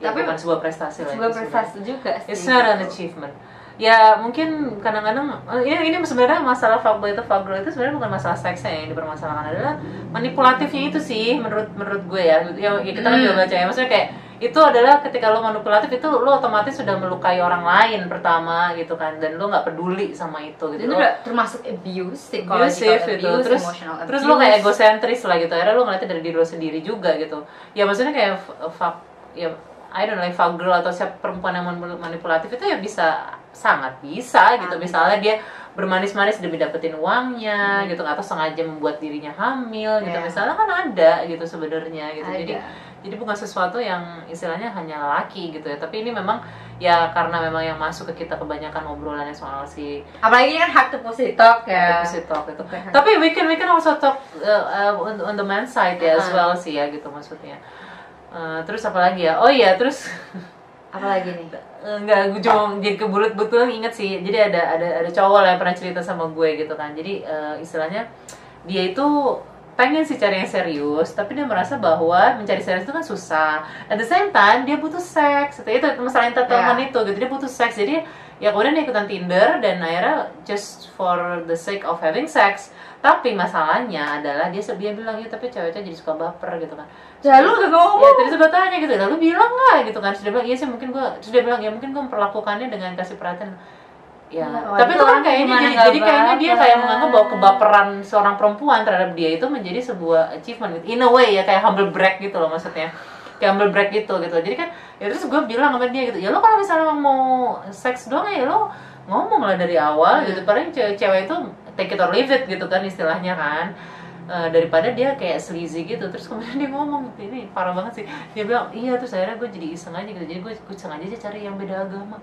B: Ya,
A: Tapi-
B: bukan sebuah prestasi lah
A: sebuah
B: itu sebenarnya.
A: prestasi juga sih
B: It's not an
A: gitu.
B: achievement. Ya mungkin kadang-kadang eh, ini ini sebenarnya masalah fuckboy itu fuckgirl itu sebenarnya bukan masalah seksnya yang dipermasalahkan adalah manipulatifnya itu sih menurut menurut gue ya. Ya, ya kita kan
A: Hmm.
B: juga baca ya maksudnya kayak itu adalah ketika lo manipulatif itu lo otomatis sudah melukai orang lain pertama gitu kan dan lo nggak peduli sama itu gitu.
A: Dan itu
B: Lo-
A: udah termasuk abuse, psychological
B: Abusive
A: abuse,
B: gitu. Terus-
A: emotional abuse.
B: terus lo kayak egosentris lah gitu akhirnya lo ngeliatnya dari diri lo sendiri juga gitu ya maksudnya kayak f- fuck ya I don't know like fuck girl atau siapa perempuan yang man- manipulatif itu ya bisa sangat bisa gitu
A: Sangat.
B: misalnya dia bermanis-manis demi dapetin uangnya
A: Hmm.
B: gitu atau sengaja membuat dirinya hamil gitu
A: Iya.
B: misalnya kan ada gitu sebenarnya gitu
A: Ada.
B: jadi jadi bukan sesuatu yang istilahnya hanya laki gitu ya tapi ini memang ya karena memang yang masuk ke kita kebanyakan obrolannya soal si
A: apalagi ini kan hard to pussy talk ya.
B: deposit talk itu
A: Bukan hard-
B: tapi we can we can also talk uh, uh, on, on the man side ya as
A: Uh-huh.
B: well sih ya gitu maksudnya. Uh, terus apa lagi ya? Oh iya terus (laughs)
A: apalagi nih?
B: enggak gue cuma jadi kebulut betul inget sih. Jadi ada ada ada cowok lah yang pernah cerita sama gue gitu kan. Jadi uh, istilahnya dia itu pengen sih cari yang serius, tapi dia merasa bahwa mencari serius itu kan susah. At the same time dia butuh seks. Itu itu masalah entertainment itu gitu. Dia butuh seks. Jadi ya kemudian dia ikutan Tinder dan akhirnya just for the sake of having sex. Tapi masalahnya adalah dia dia bilang ya tapi cewek-cewek jadi suka baper gitu kan
A: Ya lu gak ngomong.
B: ya terus gue tanya gitu lalu bilang nggak gitu kan terus dia bilang iya sih mungkin gue terus dia bilang ya mungkin gue memperlakukannya dengan kasih perhatian ya
A: Nah,
B: tapi itu kan
A: waduh,
B: kayaknya
A: gimana
B: jadi,
A: nggak
B: jadi kayaknya dia kayak
A: baper?
B: menganggap bahwa kebaperan seorang perempuan terhadap dia itu menjadi sebuah achievement gitu. in a way ya kayak humble brag gitu loh maksudnya kayak humble brag gitu gitu jadi kan ya terus gue bilang sama dia gitu ya lo kalau misalnya mau seks doang ya lo ngomong lah dari awal
A: Hmm.
B: gitu paling cewek, cewek itu take it or leave it gitu kan istilahnya kan Eh, daripada dia kayak sleazy gitu terus kemudian dia ngomong gitu, ini parah banget sih dia bilang iya terus akhirnya gue jadi iseng aja gitu jadi gue, gue sengaja aja cari yang beda agama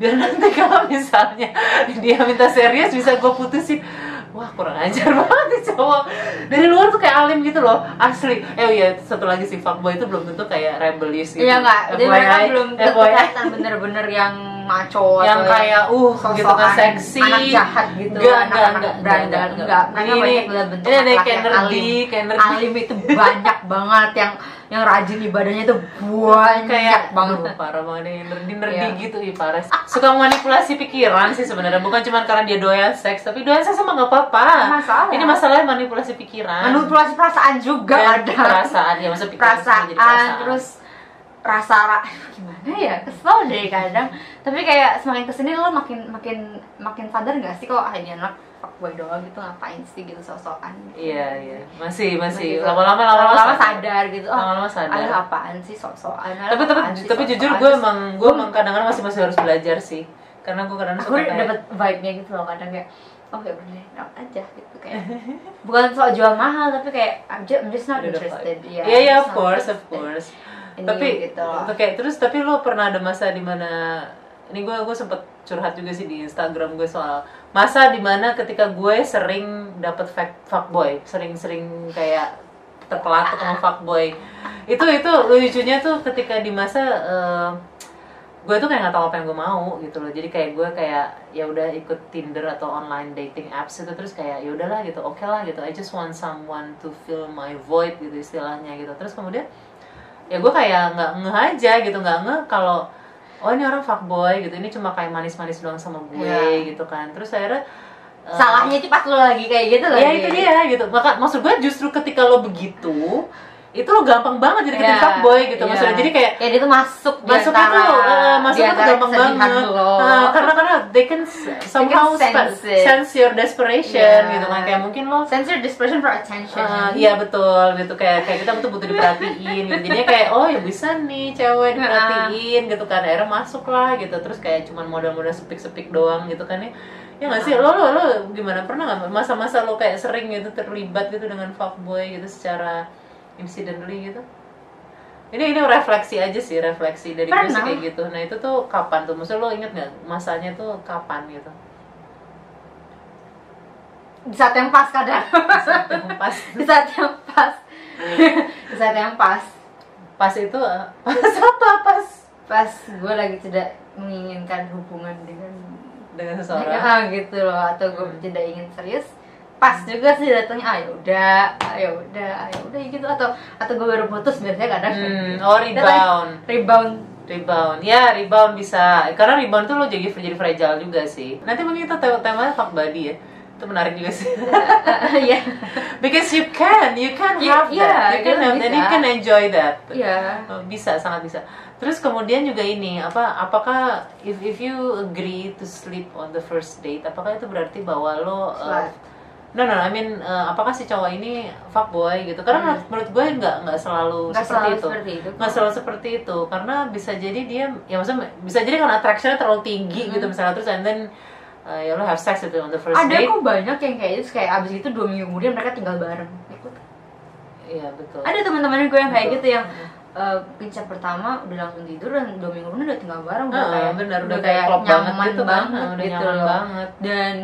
B: biar nanti kalau misalnya dia minta serius bisa gue putusin wah kurang ajar (laughs) banget nih cowok dari luar tuh kayak alim gitu loh asli eh oh iya satu lagi si fuckboy itu belum tentu kayak rebellious gitu
A: Iya enggak, jadi mereka
B: FYI,
A: belum tentu
B: FYI.
A: kelihatan bener-bener yang maco
B: yang
A: atau
B: kayak uh
A: sosokan
B: gitu kan seksi
A: anak jahat gitu,
B: Enggak,
A: anak-anak
B: enggak, enggak,
A: berandalan,
B: enggak,
A: enggak.
B: enggak.
A: Mereka
B: Ini-
A: banyak lihat bentuk
B: ini ada
A: laki-laki
B: kayak
A: yang
B: nerdy,
A: alim.
B: kayak nerdy.
A: Alim itu banyak banget yang yang rajin ibadahnya itu banyak
B: (laughs)
A: banget.
B: aduh, parah banget yang nerdi nerdi
A: Iya.
B: gitu ih parah sih. suka manipulasi pikiran sih sebenarnya bukan cuma karena dia doyan seks tapi doyan seks sama nggak apa-apa
A: Masalah.
B: ini masalahnya manipulasi pikiran
A: Manipulasi perasaan juga
B: Dan
A: ada.
B: perasaan ya maksudnya pikiran itu
A: perasaan,
B: jadi perasaan.
A: terus rasa ra- gimana ya kesel deh kadang tapi kayak semakin kesini lo makin makin makin sadar nggak sih kalau ah, ini anak fuckboy doang gitu ngapain sih gitu sosokan
B: iya iya masih masih
A: Gitu.
B: lama-lama
A: lama-lama sadar gitu oh
B: lama-lama sadar
A: aduh apaan sih sok-sokan aduh,
B: tapi tapi
A: apaan sih
B: tapi
A: sok-sokan.
B: jujur gue
A: Terus
B: emang gue emang kadang-kadang masih masih harus belajar sih karena gue kadang-kadang
A: aku
B: suka
A: udah
B: kayak-
A: dapet vibe-nya gitu loh kadang kayak oh ya udah deh out aja gitu kayak bukan soal jual mahal tapi kayak I'm just, I'm just not
B: Udah dapat.
A: interested
B: Iya,
A: ya
B: iya,
A: I'm just
B: of
A: not
B: course, of
A: interested
B: course.
A: in
B: tapi
A: you gitu loh.
B: oke, terus tapi lo pernah ada masa dimana ini gue gue sempet curhat juga sih di Instagram gue soal masa dimana ketika gue sering dapet fact fuckboy, sering-sering kayak terpelatuk sama fuckboy. Itu itu lucunya tuh ketika di masa eh, gue tuh kayak nggak tahu apa yang gue mau gitu loh jadi kayak gue kayak ya udah ikut Tinder atau online dating apps itu terus kayak ya udahlah gitu oke lah gitu I just want someone to fill my void gitu istilahnya gitu terus kemudian ya gue kayak nggak ngeh aja gitu nggak ngeh kalau oh ini orang fuckboy gitu ini cuma kayak manis-manis doang sama gue
A: Iya.
B: gitu kan terus akhirnya eh,
A: salahnya itu pas lo lagi kayak gitu
B: ya
A: lagi.
B: itu dia gitu maka maksud gue justru ketika lo begitu itu lo gampang banget jadi
A: Iya,
B: yeah, fuckboy gitu
A: iya.
B: maksudnya jadi kayak
A: ya dia tuh masuk di
B: masuknya tuh
A: antara-
B: eh,
A: di
B: masuknya tuh
A: antara
B: gampang
A: kesedihan
B: banget
A: lo.
B: Eh, karena karena they can s- somehow
A: sense
B: spe- sense,
A: it.
B: your desperation
A: Iya.
B: gitu kan kayak mungkin lo
A: sense your dispersion for attention
B: eh, iya betul gitu kayak kayak kita butuh butuh diperhatiin gitu jadinya kayak oh ya bisa nih cewek diperhatiin gitu kan akhirnya masuk lah gitu terus kayak cuman modal-modal sepik-sepik doang gitu kan ya ya nggak sih lo lo lo gimana pernah nggak masa-masa lo kayak sering gitu terlibat gitu dengan fuckboy gitu secara incidentally gitu ini ini refleksi aja sih refleksi dari gue sih
A: Pernah.
B: kayak gitu nah itu tuh kapan tuh maksud lo inget nggak masanya tuh kapan gitu
A: di saat yang pas kadang (laughs)
B: pas
A: di saat yang pas di saat yang pas
B: pas itu eh, pas apa pas
A: pas gue lagi tidak menginginkan hubungan dengan
B: dengan seseorang
A: mereka gitu loh atau gue
B: Hmm.
A: tidak ingin serius pas juga sih datangnya ah, ayo udah ayo udah ayo udah gitu atau atau gue baru putus biasanya kadang
B: hmm, oh rebound
A: rebound (laughs)
B: rebound ya rebound bisa karena rebound tuh lo jadi jadi fragile juga sih nanti mungkin kita tema temanya fuck body ya itu menarik juga sih (laughs)
A: ya
B: because you can you can
A: Ya,
B: have
A: iya,
B: that you can
A: kita
B: have that you
A: bisa.
B: can enjoy that
A: ya
B: Oh, bisa sangat bisa terus kemudian juga ini apa apakah if if you agree to sleep on the first date apakah itu berarti bahwa lo
A: Slut.
B: uh, no no I mean uh, apakah si cowok ini fuckboy gitu karena
A: Hmm.
B: menurut gue nggak nggak selalu
A: nggak
B: seperti
A: selalu
B: itu
A: seperti itu
B: nggak selalu seperti itu karena bisa jadi dia ya maksudnya bisa jadi kan attraction-nya terlalu tinggi gitu misalnya terus and then uh, ya lo have sex itu on the first
A: Hmm. ada
B: date
A: kok banyak yang kayak itu kayak abis itu dua minggu kemudian mereka tinggal bareng Ikut.
B: iya betul
A: ada teman-teman gue yang kayak
B: Betul.
A: gitu yang eh, pincap pertama udah langsung tidur dan dua minggu kemudian udah tinggal bareng udah
B: Ah,
A: kayak
B: benar udah kayak klop banget
A: nyaman
B: gitu kan
A: banget
B: Ah, udah
A: gitu
B: nyaman
A: loh.
B: banget
A: dan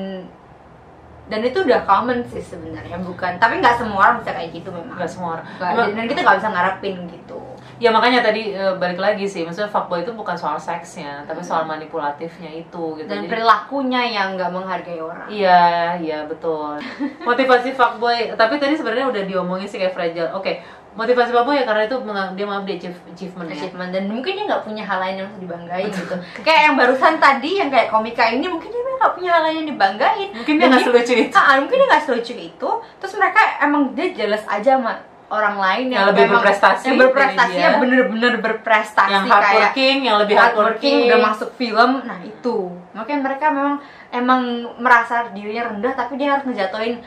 A: dan itu udah common sih sebenarnya bukan tapi nggak semua orang bisa kayak gitu memang
B: nggak semua orang
A: Nggak,
B: Cuma-
A: dan kita nggak bisa ngarepin gitu
B: Ya makanya tadi eh, balik lagi sih, maksudnya fuckboy itu bukan soal seksnya, tapi soal manipulatifnya itu
A: Hmm.
B: gitu.
A: dan
B: Jadi-
A: perilakunya yang nggak menghargai orang
B: Iya, iya
A: (laughs)
B: betul. Motivasi fuckboy, tapi tadi sebenarnya udah diomongin sih kayak fragile. Oke, motivasi fuckboy ya karena itu mengang- dia mau update achieve- ya. achievementnya.
A: achievement dan mungkin dia nggak punya hal lain yang harus dibanggain gitu kayak yang barusan tadi yang kayak komika ini mungkin dia nggak punya hal lain yang dibanggain
B: Mungkin dia
A: Dan
B: nggak selucu itu.
A: Ah, ah, mungkin dia nggak selucu itu terus mereka emang dia jealous aja sama orang lain
B: Yang
A: yang,
B: lebih
A: memang-
B: berprestasi
A: yang berprestasi
B: dari dia.
A: bener-bener berprestasi
B: Yang
A: kayak
B: hardworking, yang lebih hardworking.
A: hardworking udah masuk film nah itu mungkin mereka memang emang merasa dirinya rendah tapi dia harus ngejatuhin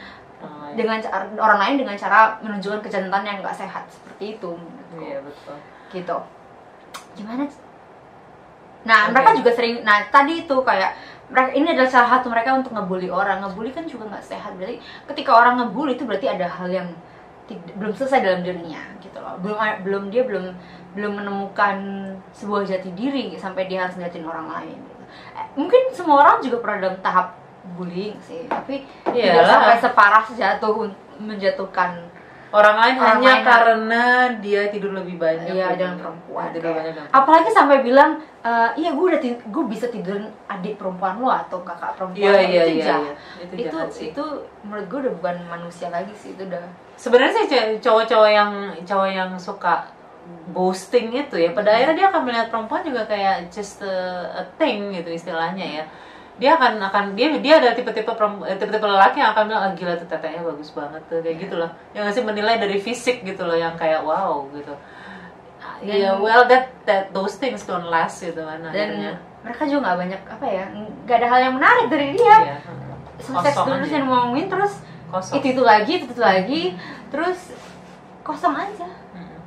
B: Oh, iya.
A: dengan cara, orang lain dengan cara menunjukkan kejantan yang nggak sehat seperti itu menurutku
B: Iya betul.
A: gitu gimana nah
B: Oke.
A: mereka juga sering nah tadi itu kayak mereka ini adalah salah satu mereka untuk ngebully orang ngebully kan juga nggak sehat berarti ketika orang ngebully itu berarti ada hal yang tid- belum selesai dalam dirinya gitu loh belum belum dia belum belum menemukan sebuah jati diri sampai dia harus ngeliatin orang lain gitu. Eh, mungkin semua orang juga pernah dalam tahap bullying sih tapi tidak
B: Iyalah.
A: sampai separah sejatuh menjatuhkan
B: Orang lain
A: Orang
B: hanya
A: lain-
B: karena dia tidur lebih banyak.
A: Iya
B: gitu.
A: dengan perempuan.
B: Tidur
A: kayak.
B: banyak. dengan perempuan.
A: Apalagi sampai bilang, "Eh, iya gue udah gue bisa tidurin adik perempuan lo atau kakak perempuan
B: Iya
A: lo
B: iya
A: itu
B: iya.
A: jahat.
B: iya. Itu
A: Itu
B: jahat
A: itu,
B: sih. Nah,
A: menurut gue udah bukan manusia lagi sih itu udah.
B: sebenarnya sih ce- cowok-cowok yang cowok yang suka boasting itu ya
A: Hmm.
B: pada akhirnya dia akan melihat perempuan juga kayak just a, a thing gitu istilahnya ya dia akan akan dia dia ada tipe-tipe peremp- eh, tipe-tipe lelaki yang akan bilang ah, gila tuh tetenya bagus banget tuh kayak
A: Iya.
B: gitu loh yang ngasih menilai dari fisik gitu loh yang kayak wow gitu Ah, iya
A: Dan-
B: well that that those things don't last gitu kan
A: Dan
B: akhirnya
A: mereka juga nggak banyak apa ya, nggak ada hal yang menarik dari dia.
B: Iya.
A: Sukses
B: Kosong
A: dulu
B: aja.
A: terus yang ngomongin terus
B: kosong
A: itu itu lagi itu itu lagi terus kosong aja.
B: Mm-mm.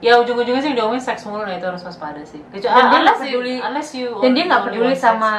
B: ya ujung-ujungnya sih diomongin seks mulu nah itu harus waspada sih kecuali
A: Dan dia nggak
B: unless, you-
A: peduli-
B: unless you
A: Dan dia nggak
B: only
A: peduli
B: want sex.
A: sama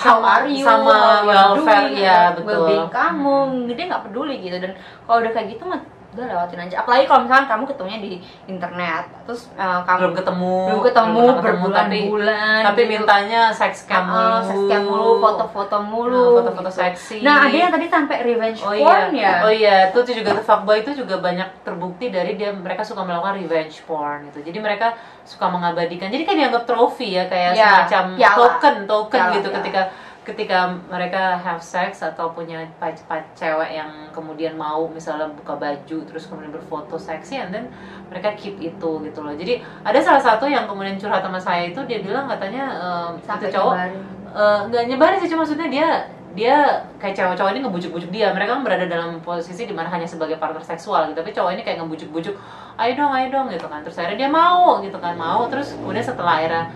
B: Sama-
A: how are you,
B: sama
A: how you are
B: welfare,
A: doing,
B: ya,
A: about
B: betul.
A: well-being kamu, dia nggak peduli gitu dan kalau udah kayak gitu mah udah lewatin aja. Apalagi kalau misalkan kamu ketemunya di internet, terus eh, kamu
B: belum ketemu
A: belum ketemu
B: belum tapi
A: berbulan-bulan,
B: tapi
A: gitu.
B: mintanya seks
A: Ah,
B: cam
A: ah,
B: mulu
A: sex cam mulu, foto-foto mulu,
B: Nah, foto-foto
A: gitu.
B: seksi
A: Nah ada yang tadi sampai revenge
B: oh iya
A: porn ya.
B: oh iya itu tuh juga tuh fuckboy itu juga banyak terbukti dari dia mereka suka melakukan revenge porn gitu jadi mereka suka mengabadikan jadi kan dianggap trofi ya kayak
A: Iya,
B: semacam
A: piala.
B: token token
A: Piala,
B: gitu
A: piala.
B: ketika ketika mereka have sex atau punya pac- pac- cewek yang kemudian mau misalnya buka baju terus kemudian berfoto seksi and then mereka keep itu gitu loh jadi ada salah satu yang kemudian curhat sama saya itu dia bilang katanya ehm, itu
A: Sampai
B: cowok
A: nyebarin.
B: Eh, nggak nyebarin sih cuma maksudnya dia dia kayak cowok-cowok ini ngebujuk-bujuk dia mereka kan berada dalam posisi dimana hanya sebagai partner seksual gitu tapi cowok ini kayak ngebujuk-bujuk ayo dong ayo dong gitu kan terus akhirnya dia mau gitu kan mau terus kemudian setelah akhirnya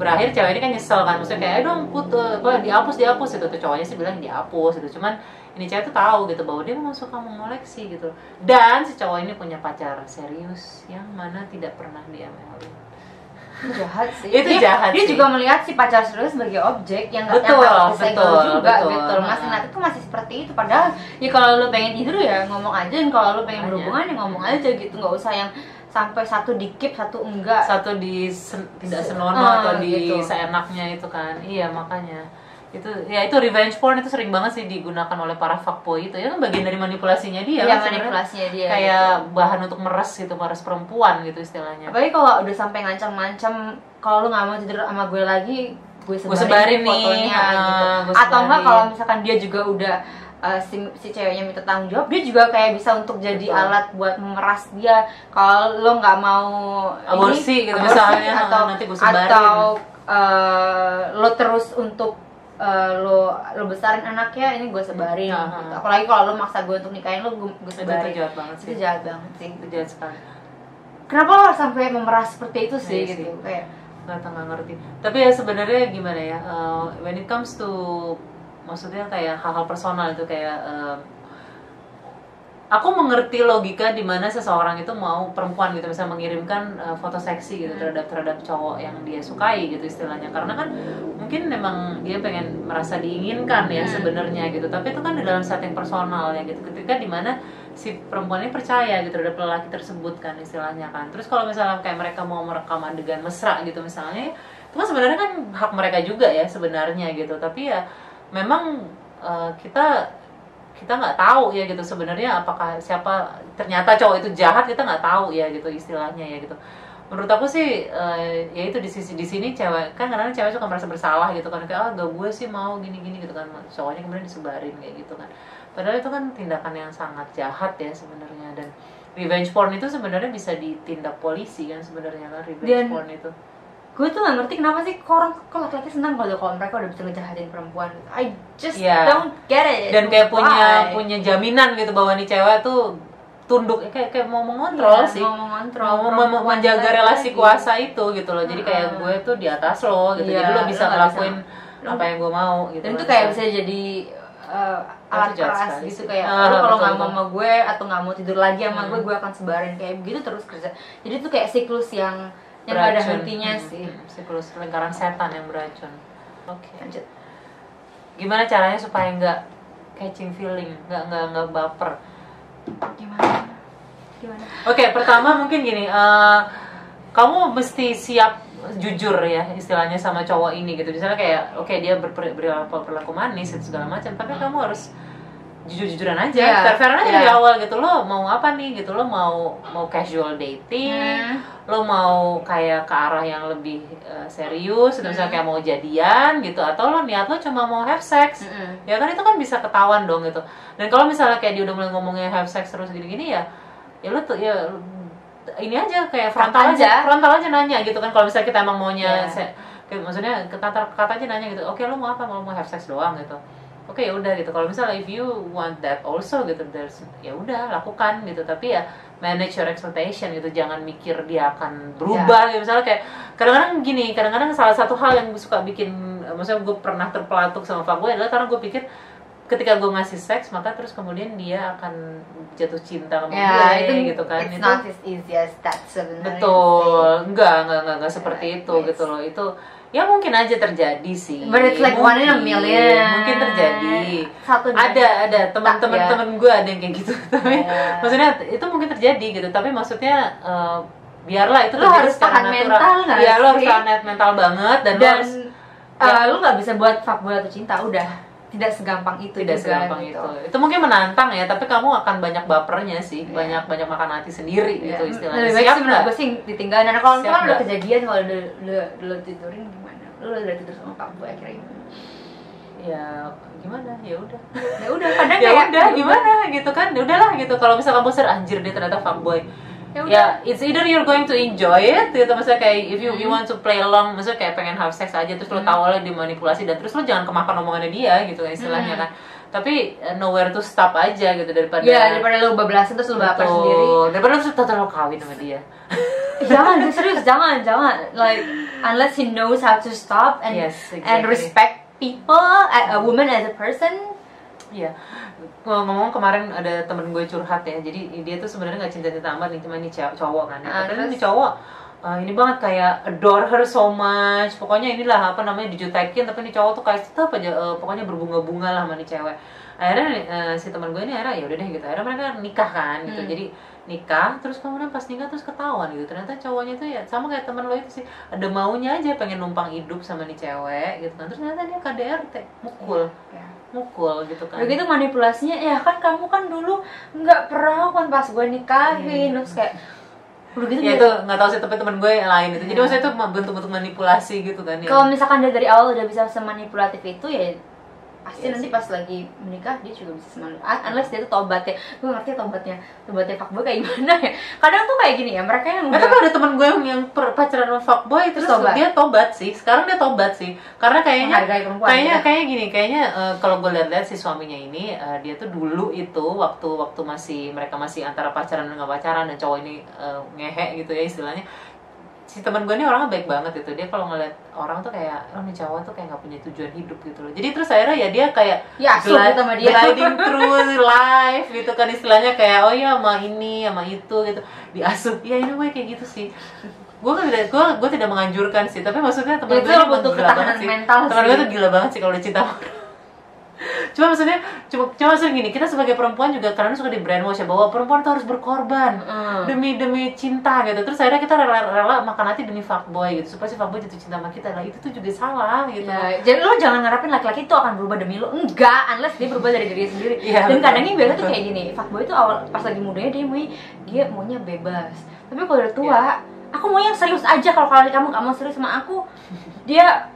B: berakhir cewek ini kan nyesel kan maksudnya kayak ayo dong put eh, apa dihapus dihapus gitu tuh cowoknya sih bilang dihapus gitu cuman ini cewek tuh tahu gitu bahwa dia memang suka mengoleksi gitu dan si cowok ini punya pacar serius yang mana tidak pernah diamelin
A: Itu jahat sih.
B: Itu
A: Dia-
B: jahat
A: Dia
B: sih.
A: juga melihat si pacar serius sebagai objek yang nggak
B: Betul,
A: nyaman, disegel
B: betul,
A: juga
B: betul.
A: gitu. Masih
B: Nah.
A: nanti tuh masih seperti itu. Padahal ya kalau lu pengen tidur ya ngomong aja, dan kalau lu pengen
B: Makanya.
A: berhubungan ya ngomong aja gitu, nggak usah yang sampai satu dikip satu enggak.
B: satu di sen- tidak
A: Se-
B: senonoh atau
A: ah,
B: di
A: gitu.
B: seenaknya itu kan iya makanya itu ya itu revenge porn itu sering banget sih digunakan oleh para fuckboy itu ya kan bagian dari manipulasinya
A: Iya,
B: dia kan sebenarnya.
A: manipulasinya dia
B: kayak bahan untuk meres gitu meres perempuan gitu istilahnya
A: apalagi kalau udah sampai ngancam-ngancam kalau lu nggak mau tidur sama gue lagi gue sebarin,
B: sebarin
A: nih
B: nih,
A: fotonya gitu
B: ah, gue
A: atau enggak
B: sebarin.
A: kalau misalkan dia juga udah eh, si, si ceweknya minta tanggung jawab dia juga kayak bisa untuk jadi
B: Betul.
A: alat buat memeras dia kalau lo nggak mau ini,
B: Aborsi gitu misalnya,
A: atau
B: nanti gue sebarin.
A: atau eh, lo terus untuk eh, lo lo besarin anaknya ini gue sebarin
B: Ah,
A: gitu.
B: ah.
A: apalagi kalau lo maksa gue untuk nikahin lo gue, gue
B: itu
A: sebarin
B: itu jahat banget sih
A: itu jahat banget sih
B: itu kan. jahat sekali
A: kenapa lo sampai memeras seperti itu sih
B: Iya sih.
A: gitu kayak
B: nggak tahu, nggak ngerti tapi ya sebenarnya gimana ya uh, when it comes to maksudnya kayak hal-hal personal itu kayak um, aku mengerti logika di mana seseorang itu mau perempuan gitu misalnya mengirimkan uh, foto seksi gitu terhadap terhadap cowok yang dia sukai gitu istilahnya karena kan mungkin memang dia pengen merasa diinginkan ya
A: Hmm.
B: sebenarnya gitu tapi itu kan di dalam setting personal ya gitu ketika di mana si perempuan ini percaya gitu terhadap lelaki tersebut kan istilahnya kan terus kalau misalnya kayak mereka mau merekam adegan mesra gitu misalnya itu kan sebenarnya kan hak mereka juga ya sebenarnya gitu tapi ya memang eh, kita kita nggak tahu ya gitu sebenarnya apakah siapa ternyata cowok itu jahat kita nggak tahu ya gitu istilahnya ya gitu menurut aku sih eh, ya itu di sisi di sini cewek kan kadang cewek suka merasa bersalah gitu kan kayak ah gak gue sih mau gini gini gitu kan cowoknya kemudian disebarin kayak gitu kan padahal itu kan tindakan yang sangat jahat ya sebenarnya dan revenge porn itu sebenarnya bisa ditindak polisi kan sebenarnya kan revenge
A: Dan-
B: porn itu
A: gue tuh gak ngerti kenapa sih kok orang kok laki-laki senang kalau kalau mereka udah bisa ngejahatin perempuan gitu. I just
B: Iya.
A: don't get it
B: dan kayak punya
A: Why?
B: punya jaminan gitu bahwa nih cewek tuh tunduk kayak kayak mau mengontrol
A: Iya,
B: sih
A: mau mengontrol
B: mau mem- mem-
A: perempuan
B: menjaga
A: lagi.
B: relasi kuasa itu gitu loh jadi kayak
A: Mm-mm.
B: gue tuh di atas lo gitu
A: Iya,
B: jadi lo
A: lo
B: bisa
A: nggak
B: ngelakuin
A: bisa.
B: apa yang gue mau gitu
A: dan
B: loh.
A: itu kayak bisa jadi uh, alat
B: jahat
A: keras
B: sekali
A: gitu
B: sih.
A: kayak
B: Ah,
A: lu kalau
B: betul,
A: nggak mau
B: betul.
A: sama gue atau nggak mau tidur lagi sama
B: Hmm.
A: gue gue akan sebarin kayak begitu terus kerja jadi itu kayak siklus yang yang nggak ada
B: Beracun.
A: hentinya
B: Hmm,
A: sih
B: hmm. siklus lingkaran setan yang beracun oke
A: lanjut
B: gimana caranya supaya nggak catching feeling nggak nggak nggak baper
A: gimana gimana
B: Oke, pertama mungkin gini, eh, kamu mesti siap jujur ya istilahnya sama cowok ini gitu. Misalnya kayak, oke dia berper- berperilaku perilaku manis itu segala macam, tapi kamu harus jujur-jujuran aja,
A: Hmm. Iya,
B: fair-fairan aja dari
A: iya.
B: awal gitu. Lo mau apa nih gitu? Lo mau mau casual dating,
A: Hmm.
B: lo mau kayak ke arah yang lebih eh, serius, gitu.
A: Hmm.
B: misalnya kayak mau jadian gitu, atau lo niat lo cuma mau have sex
A: Mm-mm.
B: ya kan itu kan bisa ketahuan dong gitu dan kalau misalnya kayak dia udah mulai ngomongnya have sex terus gini-gini ya ya lu tuh ya lu- ini aja kayak frontal
A: Frontal
B: aja.
A: aja.
B: frontal aja nanya gitu kan kalau misalnya kita emang
A: Iya.
B: maunya se- kayak maksudnya kata kata aja nanya gitu oke lu mau apa mau mau have sex doang gitu oke ya udah gitu kalau misalnya if you want that also gitu there's ya udah lakukan gitu tapi ya manage your expectation gitu jangan mikir dia akan
A: Ya.
B: berubah gitu. misalnya kayak kadang-kadang gini kadang-kadang salah satu hal yang gue suka bikin eh, maksudnya gue pernah terpelatuk sama fuckboy adalah karena gue pikir ketika gue ngasih seks maka terus kemudian dia akan jatuh cinta sama
A: ya
B: gue
A: itu
B: gitu kan
A: it's
B: itu
A: not as easy as that sebenarnya
B: betul enggak enggak enggak
A: Ya,
B: enggak seperti
A: Yeah,
B: itu
A: it's-
B: gitu loh itu ya mungkin aja terjadi sih
A: But it's like one in a
B: Mungkin.
A: million.
B: mungkin terjadi
A: Satu dari-
B: ada ada teman-teman
A: Tak, ya.
B: teman gue ada yang kayak gitu (laughs) tapi
A: Ya.
B: maksudnya itu mungkin terjadi gitu tapi maksudnya eh, biarlah itu
A: Lo
B: terjadi
A: harus
B: secara
A: tahan
B: natural.
A: mental nggak
B: Iya, lo harus
A: sih?
B: tahan mental banget dan, lo
A: dan
B: harus
A: eh,
B: ya.
A: lu nggak bisa buat fuckboy atau cinta udah tidak segampang itu
B: tidak
A: juga,
B: segampang
A: gitu.
B: itu. Itu mungkin menantang ya, tapi kamu akan banyak bapernya sih,
A: Iya.
B: banyak banyak makan hati sendiri
A: Ya,
B: gitu istilahnya.
A: lebih baik
B: Siap
A: sih menurut
B: nggak?
A: gue sih ditinggalin dan kalau kalau
B: Siap
A: udah
B: nggak?
A: kejadian kalau udah udah udah tidurin gimana lu udah tidur sama fuckboy akhirnya gimana
B: Ya gimana? Ya udah.
A: ya udah kadang
B: (laughs) Ya
A: kayak
B: udah gimana gitu kan? Ya udahlah gitu. Kalau misal kamu ser anjir dia ternyata fuckboy.
A: ya udah
B: Ya, it's either you're going to enjoy it gitu maksudnya kayak if you you
A: Hmm.
B: want to play along maksudnya kayak pengen have sex aja terus lo tahu oleh dimanipulasi dan terus lo jangan kemakan omongannya dia gitu kan istilahnya
A: Hmm.
B: kan. Tapi eh, nowhere to stop aja gitu daripada
A: ya daripada lu bablasan terus lu baper
B: Betul. (laughs)
A: sendiri
B: Daripada lo terlalu kawin sama dia.
A: jangan gue serius jangan jangan like unless he knows how to stop and
B: Yes,
A: and
B: exactly.
A: respect people a, a woman as a person
B: Iya, Ngom- ngomong kemarin ada temen gue curhat ya, jadi dia tuh sebenarnya nggak cinta cinta amat nih, cuma ini cow- cowok kan. Ya.
A: Ah,
B: Tapi
A: terus?
B: ini cowok eh, ini banget kayak adore her so much pokoknya inilah apa namanya dijutekin tapi ini cowok tuh kayak tetap aja eh, pokoknya berbunga-bunga lah sama nih cewek akhirnya eh, si teman gue ini akhirnya ya udah deh gitu akhirnya mereka nikah kan gitu
A: Hmm.
B: jadi nikah terus kemudian pas nikah terus ketahuan gitu ternyata cowoknya tuh ya sama kayak teman lo itu sih ada maunya aja pengen numpang hidup sama nih cewek gitu kan terus ternyata dia KDRT mukul
A: Iya.
C: ya.
B: mukul gitu kan
A: Begitu manipulasinya, ya kan kamu kan dulu nggak pernah kan pas gue nikahin,
B: Hmm.
A: terus kayak udah gitu dia-
B: ya itu nggak tahu sih tapi temen gue yang lain itu jadi
A: Iya.
B: maksudnya itu bentuk-bentuk manipulasi gitu kan ya
A: Kalau misalkan dia dari awal udah bisa semanipulatif itu ya pasti
B: Iya
A: nanti
B: sih.
A: pas lagi menikah dia juga bisa semanipulatif. Unless dia tuh tobatnya, gue ngerti tobatnya, tobatnya fuckboy kayak gimana ya. Kadang tuh kayak gini ya, mereka yang
B: Nggak,
A: udah
B: Eh, tapi ada temen gue yang, yang per- pacaran sama fuckboy terus
A: Terus tobat.
B: dia tobat sih sekarang dia tobat sih karena kayaknya
A: menghargai perempuan.
B: kayaknya
A: gitu.
B: kayaknya gini kayaknya eh, kalau gue lihat-lihat si suaminya ini eh, dia tuh dulu itu waktu waktu masih mereka masih antara pacaran dan nggak pacaran dan cowok ini eh, ngehe gitu ya istilahnya si teman gue ini orangnya baik banget gitu dia kalau ngeliat orang tuh kayak oh nih cowok tuh kayak nggak punya tujuan hidup gitu loh jadi terus akhirnya ya dia kayak
A: ya asuh
B: Glide-
A: gitu sama dia.
B: gliding through life gitu kan istilahnya kayak oh ya sama ini sama itu gitu diasuh ya ini gue kayak gitu sih gue tidak gue gue tidak menganjurkan sih tapi maksudnya teman
A: Itu
B: gue ini
A: butuh
B: emang gila
A: ketahanan
B: banget sih
A: mental
B: teman gue
A: sih.
B: tuh gila banget sih kalau udah cinta sama orang. cuma maksudnya cuma cuma maksudnya gini kita sebagai perempuan juga karena suka di brainwash ya bahwa perempuan tuh harus berkorban
A: Hmm.
B: demi demi cinta gitu terus akhirnya kita rela rela makan hati demi fuckboy gitu supaya si fuckboy jatuh cinta sama kita lah itu tuh juga salah gitu
A: Ya, jadi lo jangan ngarepin laki-laki itu akan berubah demi lo enggak unless dia berubah dari diri sendiri
B: Iya,
A: dan
B: betul.
A: kadangnya biasanya tuh
B: Betul.
A: kayak gini fuckboy itu awal pas lagi mudanya dia mau dia maunya bebas tapi kalau udah tua
B: Iya.
A: aku mau yang serius aja kalau kali kamu gak mau serius sama aku dia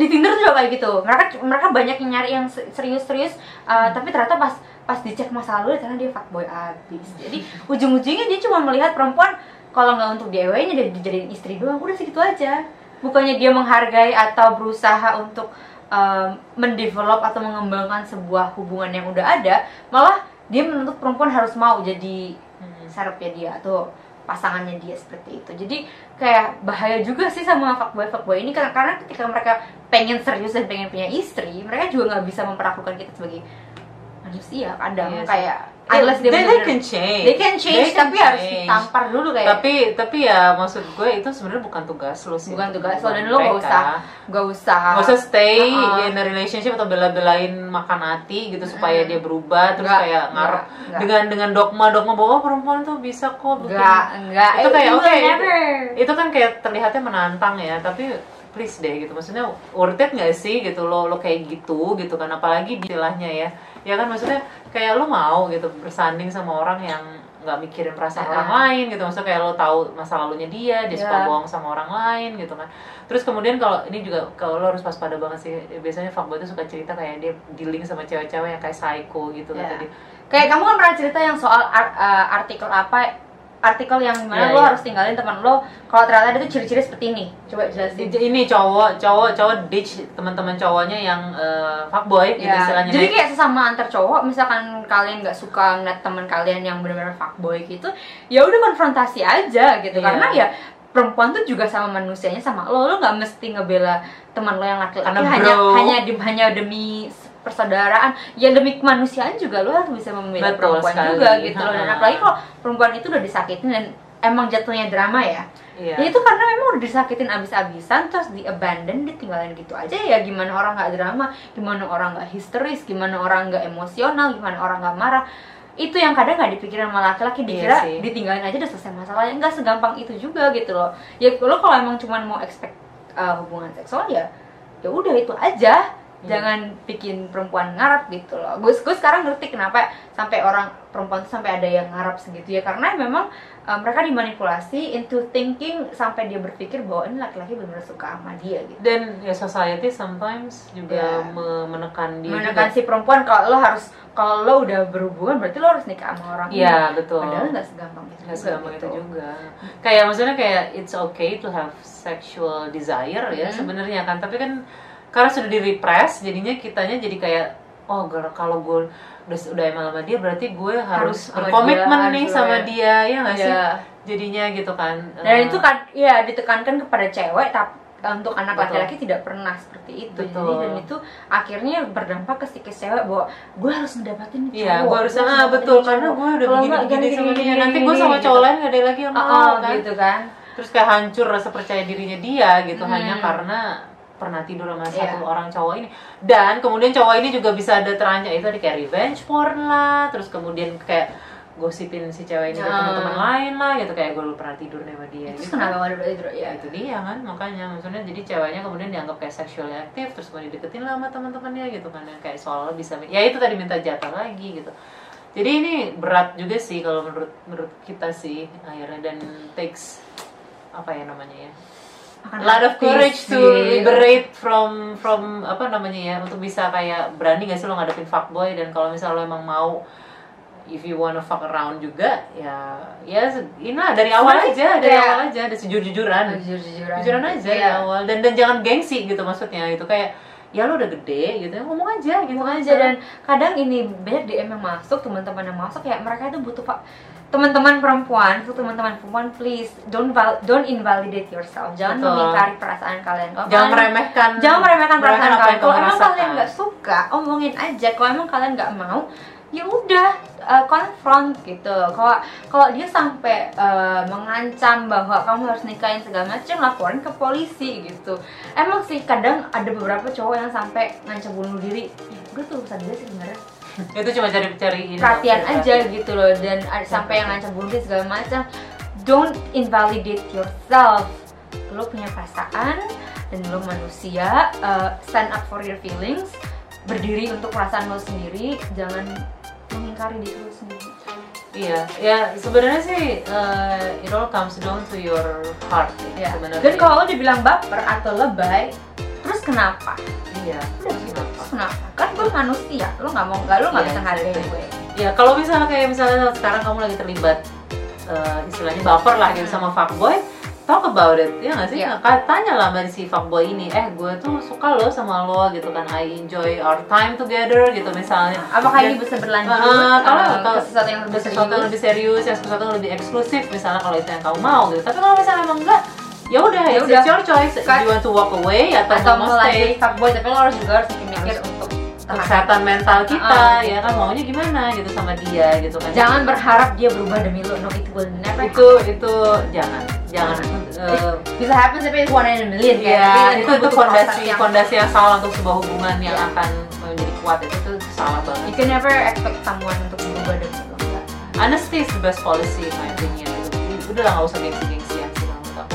A: di Tinder tuh juga kayak gitu mereka mereka banyak yang nyari yang se- serius-serius uh, tapi ternyata pas pas dicek masa lalu karena dia fuckboy abis jadi ujung-ujungnya dia cuma melihat perempuan kalau nggak untuk DIY-nya dia dijadiin istri doang udah segitu aja bukannya dia menghargai atau berusaha untuk um, mendevelop atau mengembangkan sebuah hubungan yang udah ada malah dia menuntut perempuan harus mau jadi
B: Hmm.
A: serepnya dia atau pasangannya dia seperti itu jadi kayak bahaya juga sih sama fuckboy fuckboy ini karena, karena ketika mereka pengen serius dan pengen punya istri mereka juga nggak bisa memperlakukan kita sebagai manusia kadang
B: Iya sih.
A: kayak unless dia
B: they, they
A: bener-bener-
B: can change
A: they can change
B: They can
A: tapi harus
B: change.
A: ditampar dulu kayak
B: tapi tapi ya maksud gue itu sebenarnya bukan tugas lo sih
A: Bukan
B: untuk
A: tugas lo,
B: merubah
A: dan lo nggak
B: mereka.
A: usah. gak usah
B: nggak usah stay
A: Uh-uh.
B: in a relationship atau bela-belain makan hati gitu supaya
A: Mm.
B: dia berubah terus
A: Nggak,
B: kayak ngarep
A: nggak,
B: dengan dengan dogma dogma bahwa "Oh, perempuan tuh bisa kok bikin
A: nggak nggak
B: Itu kayak,
A: will
B: oke, itu-
A: never.
B: itu kan kayak terlihatnya menantang ya tapi please deh gitu maksudnya worth it nggak sih gitu lo lo kayak gitu gitu kan apalagi di- istilahnya ya ya kan maksudnya kayak lo mau gitu bersanding sama orang yang nggak mikirin perasaan
A: Ah.
B: orang lain gitu maksudnya kayak lo tahu masa lalunya dia dia suka
A: Ya.
B: bohong sama orang lain gitu kan terus kemudian kalau ini juga kalau lo harus waspada banget sih biasanya fuckboy tuh suka cerita kayak dia dealing sama cewek-cewek yang kayak psycho gitu
A: Ya.
B: kan tadi
A: Kayak kamu kan pernah cerita yang soal ar- uh, artikel apa artikel yang
B: Iya,
A: dimana lo
B: iya.
A: harus tinggalin teman lo kalau ternyata ada tuh ciri-ciri seperti ini coba jelasin
B: Di- ini cowok cowok cowok ditch teman-teman cowoknya yang eh, fuckboy gitu
A: Ya,
B: istilahnya
A: jadi kayak sesama antar cowok misalkan kalian nggak suka ngeliat teman kalian yang benar-benar fuckboy gitu ya udah konfrontasi aja gitu
B: Iya.
A: karena ya perempuan tuh juga sama manusianya sama lo lo nggak mesti ngebela teman lo yang laki-laki
B: Karena
A: hanya
B: bro.
A: hanya dem- hanya demi persaudaraan ya demi kemanusiaan juga lo harus bisa membela
B: Betul
A: perempuan
B: sekali.
A: juga gitu loh dan
B: Ha-ha.
A: apalagi kalau perempuan itu udah disakitin dan emang jatuhnya drama ya
B: Iya.
A: Ya itu karena memang udah disakitin abis-abisan terus di abandon ditinggalin gitu aja ya gimana orang nggak drama, gimana orang nggak histeris, gimana orang nggak emosional, gimana orang nggak marah. Itu yang kadang nggak dipikirin sama laki-laki dikira
B: Iya sih.
A: ditinggalin aja udah selesai masalahnya nggak segampang itu juga gitu loh. Ya lo kalau emang cuman mau expect uh, hubungan seksual ya ya udah itu aja
B: Iya.
A: jangan kan bikin perempuan ngarap gitu loh gue gue sekarang ngerti kenapa sampai orang perempuan tuh sampai ada yang ngarap segitu ya karena memang uh, mereka dimanipulasi into thinking sampai dia berpikir bahwa ini laki-laki benar-benar suka sama dia gitu
B: dan ya society sometimes
A: Ya.
B: juga me- menekan dia
A: menekan kan si perempuan kalau lo harus kalau lo udah berhubungan berarti lo harus nikah sama orang
B: juga. ya betul
A: padahal nggak segampang itu
B: nggak
A: juga
B: segampang
A: gitu.
B: itu juga kayak maksudnya kayak it's okay to have sexual desire ya
A: Mhm.
B: sebenarnya kan tapi kan karena sudah di repress jadinya kitanya jadi kayak oh gar- kalau gue udah udah emang sama dia berarti gue harus,
A: Harus sama
B: berkomitmen
A: dia,
B: nih
A: harus
B: sama
A: ya.
B: dia ya nggak sih
A: Iya.
B: jadinya gitu kan
A: dan
B: Eh,
A: itu kan ya ditekankan kepada cewek tapi untuk anak
B: Betul.
A: laki-laki tidak pernah seperti itu
B: Betul.
A: jadi dan itu akhirnya berdampak ke psikis cewek bahwa gue harus ngedapatin nih cowok
B: Iya, gue harus
A: gua
B: ah
A: ngedapatin
B: betul
A: nih
B: karena
A: cowok."
B: gue udah
A: Kalau
B: begini
A: nggak,
B: begini
A: gini,
B: sama
A: gini,
B: dia.
A: gini,
B: Nanti
A: gini,
B: gue sama
A: gitu.
B: cowok lain gak ada lagi yang
A: Oh,
B: mau
A: oh,
B: kan.
A: gitu kan
B: terus kayak hancur rasa percaya dirinya dia gitu
A: Hmm.
B: hanya karena pernah tidur sama
A: Iya.
B: satu orang cowok ini dan kemudian cowok ini juga bisa ada terancam itu ada kayak revenge porn lah terus kemudian kayak gosipin si cewek ini ke
A: Hmm.
B: teman-teman lain lah gitu kayak gue dulu pernah tidur nih sama dia
A: Terus
B: gitu.
A: kenapa nggak dapat tidur? Ya,
B: Ya itu dia kan makanya maksudnya jadi ceweknya kemudian dianggap kayak sexually aktif terus kemudian dideketin lah sama teman-temannya gitu kan yang kayak soal bisa ya itu tadi minta jatah lagi gitu. Jadi ini berat juga sih kalau menurut menurut kita sih akhirnya dan takes apa ya namanya ya
A: Makan
B: lot of
A: hati
B: courage to
A: sih.
B: liberate from from apa namanya ya untuk bisa kayak berani gak sih lo ngadepin fuckboy dan kalau misalnya lo emang mau if you wanna fuck around juga ya ya se- inilah dari awal
A: Sebenarnya
B: aja dari
A: kayak-
B: awal aja ada sejujur-jujuran gitu.
A: Jujur-jujuran.
B: jujuran aja ya.
A: Iya.
B: dari awal dan dan jangan gengsi gitu maksudnya itu kayak ya lo udah gede gitu ya ngomong aja gitu
A: Ngomong aja dan kadang ini banyak DM yang masuk teman-teman yang masuk ya mereka itu butuh pak teman-teman perempuan untuk teman-teman perempuan please don't val- don't invalidate yourself jangan
B: Betul.
A: mengingkari perasaan kaliaan Kalau
B: jangan
A: kalian-
B: meremehkan
A: jangan meremehkan perasaan
B: apa
A: kalian
B: yang
A: kalau
B: kamu
A: emang kalian
B: rasakan.
A: nggak suka omongin aja kalau emang kalian nggak mau ya udah uh, konfront gitu kalau kalau dia sampai uh, mengancam bahwa kamu harus nikahin segala macam laporin ke polisi gitu emang sih kadang ada beberapa cowok yang sampai ngancam bunuh diri ya udah tuh urusan dia sih sebenarnya
B: itu cuma cari cari ini,
A: perhatian
B: cari-
A: aja gitu loh dan ada- sampai yang ngancam bunuh diri segala macam don't invalidate yourself lo punya perasaan dan lo manusia uh, stand up for your feelings berdiri untuk perasaan lo sendiri jangan mengingkari diri lo sendiri
B: Iya, ya sebenarnya sih eh, it all comes down to your heart
A: ya.
B: ya. Sebenarnya.
A: dan kalau lo dibilang baper atau lebay terus kenapa
B: iya,
A: udah
B: terus
A: gitu
B: kenapa?
A: terus kenapa kan gue manusia lo nggak mau nggak lo nggak
B: Iya,
A: bisa hargai
B: exactly.
A: gue
B: Ya kalau misalnya kayak misalnya sekarang kamu lagi terlibat eh, istilahnya baper lah gitu
A: Hmm.
B: sama fuckboy, talk about it ya nggak sih?
A: Iya.
B: Ka- Tanya lah sama si fuckboy ini, eh gue tuh suka lo sama lo gitu kan, I enjoy our time together gitu misalnya.
A: apakah
B: Dan-
A: ini bisa berlanjut
B: Ah, kalau
A: Eh,
B: kalau
A: ke sesuatu yang lebih
B: ke sesuatu yang
A: serius
B: lebih serius, yang sesuatu yang lebih eksklusif misalnya kalau itu yang kamu mau gitu. Tapi kalau misalnya emang enggak, ya udah,
A: Ya
B: it's
A: udah.
B: your choice. Do
A: Cut.
B: you want to walk away atau,
A: atau
B: mau
A: melanjut
B: stay?
A: fuckboy tapi lo harus juga harus mikir untuk tahan.
B: Kesehatan mental kita,
A: Ah,
B: ya kan maunya gimana gitu sama dia gitu kan.
A: jangan berharap dia berubah demi lo no it will never
B: itu itu jangan jangan eh,
A: bisa happen tapi it's one in a million kayak
B: ya,
A: Tapi kan
B: itu (laughs) itu
A: butuh
B: fondasi
A: proses yang-
B: fondasi yang salah untuk sebuah hubungan yang
A: Iya.
B: akan menjadi kuat itu tuh salah banget
A: you can never expect someone untuk berubah demi lo enggak.
B: honesty is the best policy in my opinion Gitu. udah lah nggak usah gengsi gengsian sih kalau menurut aku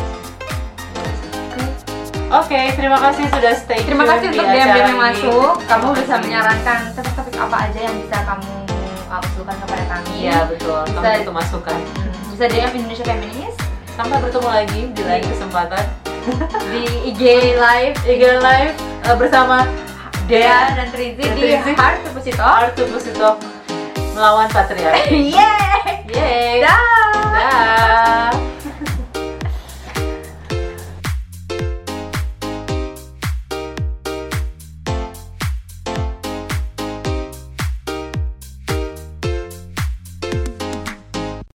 B: Oke, terima kasih sudah stay
A: terima
B: tune
A: kasih
B: di
A: untuk DM
B: acara
A: yang
B: ini.
A: masuk kamu
B: Terima
A: bisa
B: kasih.
A: menyarankan topik-topik apa aja yang bisa kamu uh, usulkan kepada kami
B: Iya, betul. Kamu
A: Bisa-
B: itu masukan.
A: bisa DM Indonesia Feminis
B: Sampai bertemu lagi di lain kesempatan.
A: di IG live
B: IG Live eh, bersama Iya.
A: Dea
B: Dea
A: dan Trizi
B: Dan
A: di
B: Trizi.
A: (laughs) Heart Terpusito
B: Eh. Arthur Pusito melawan patriarki.
A: Yeay
B: Yeay!
A: dah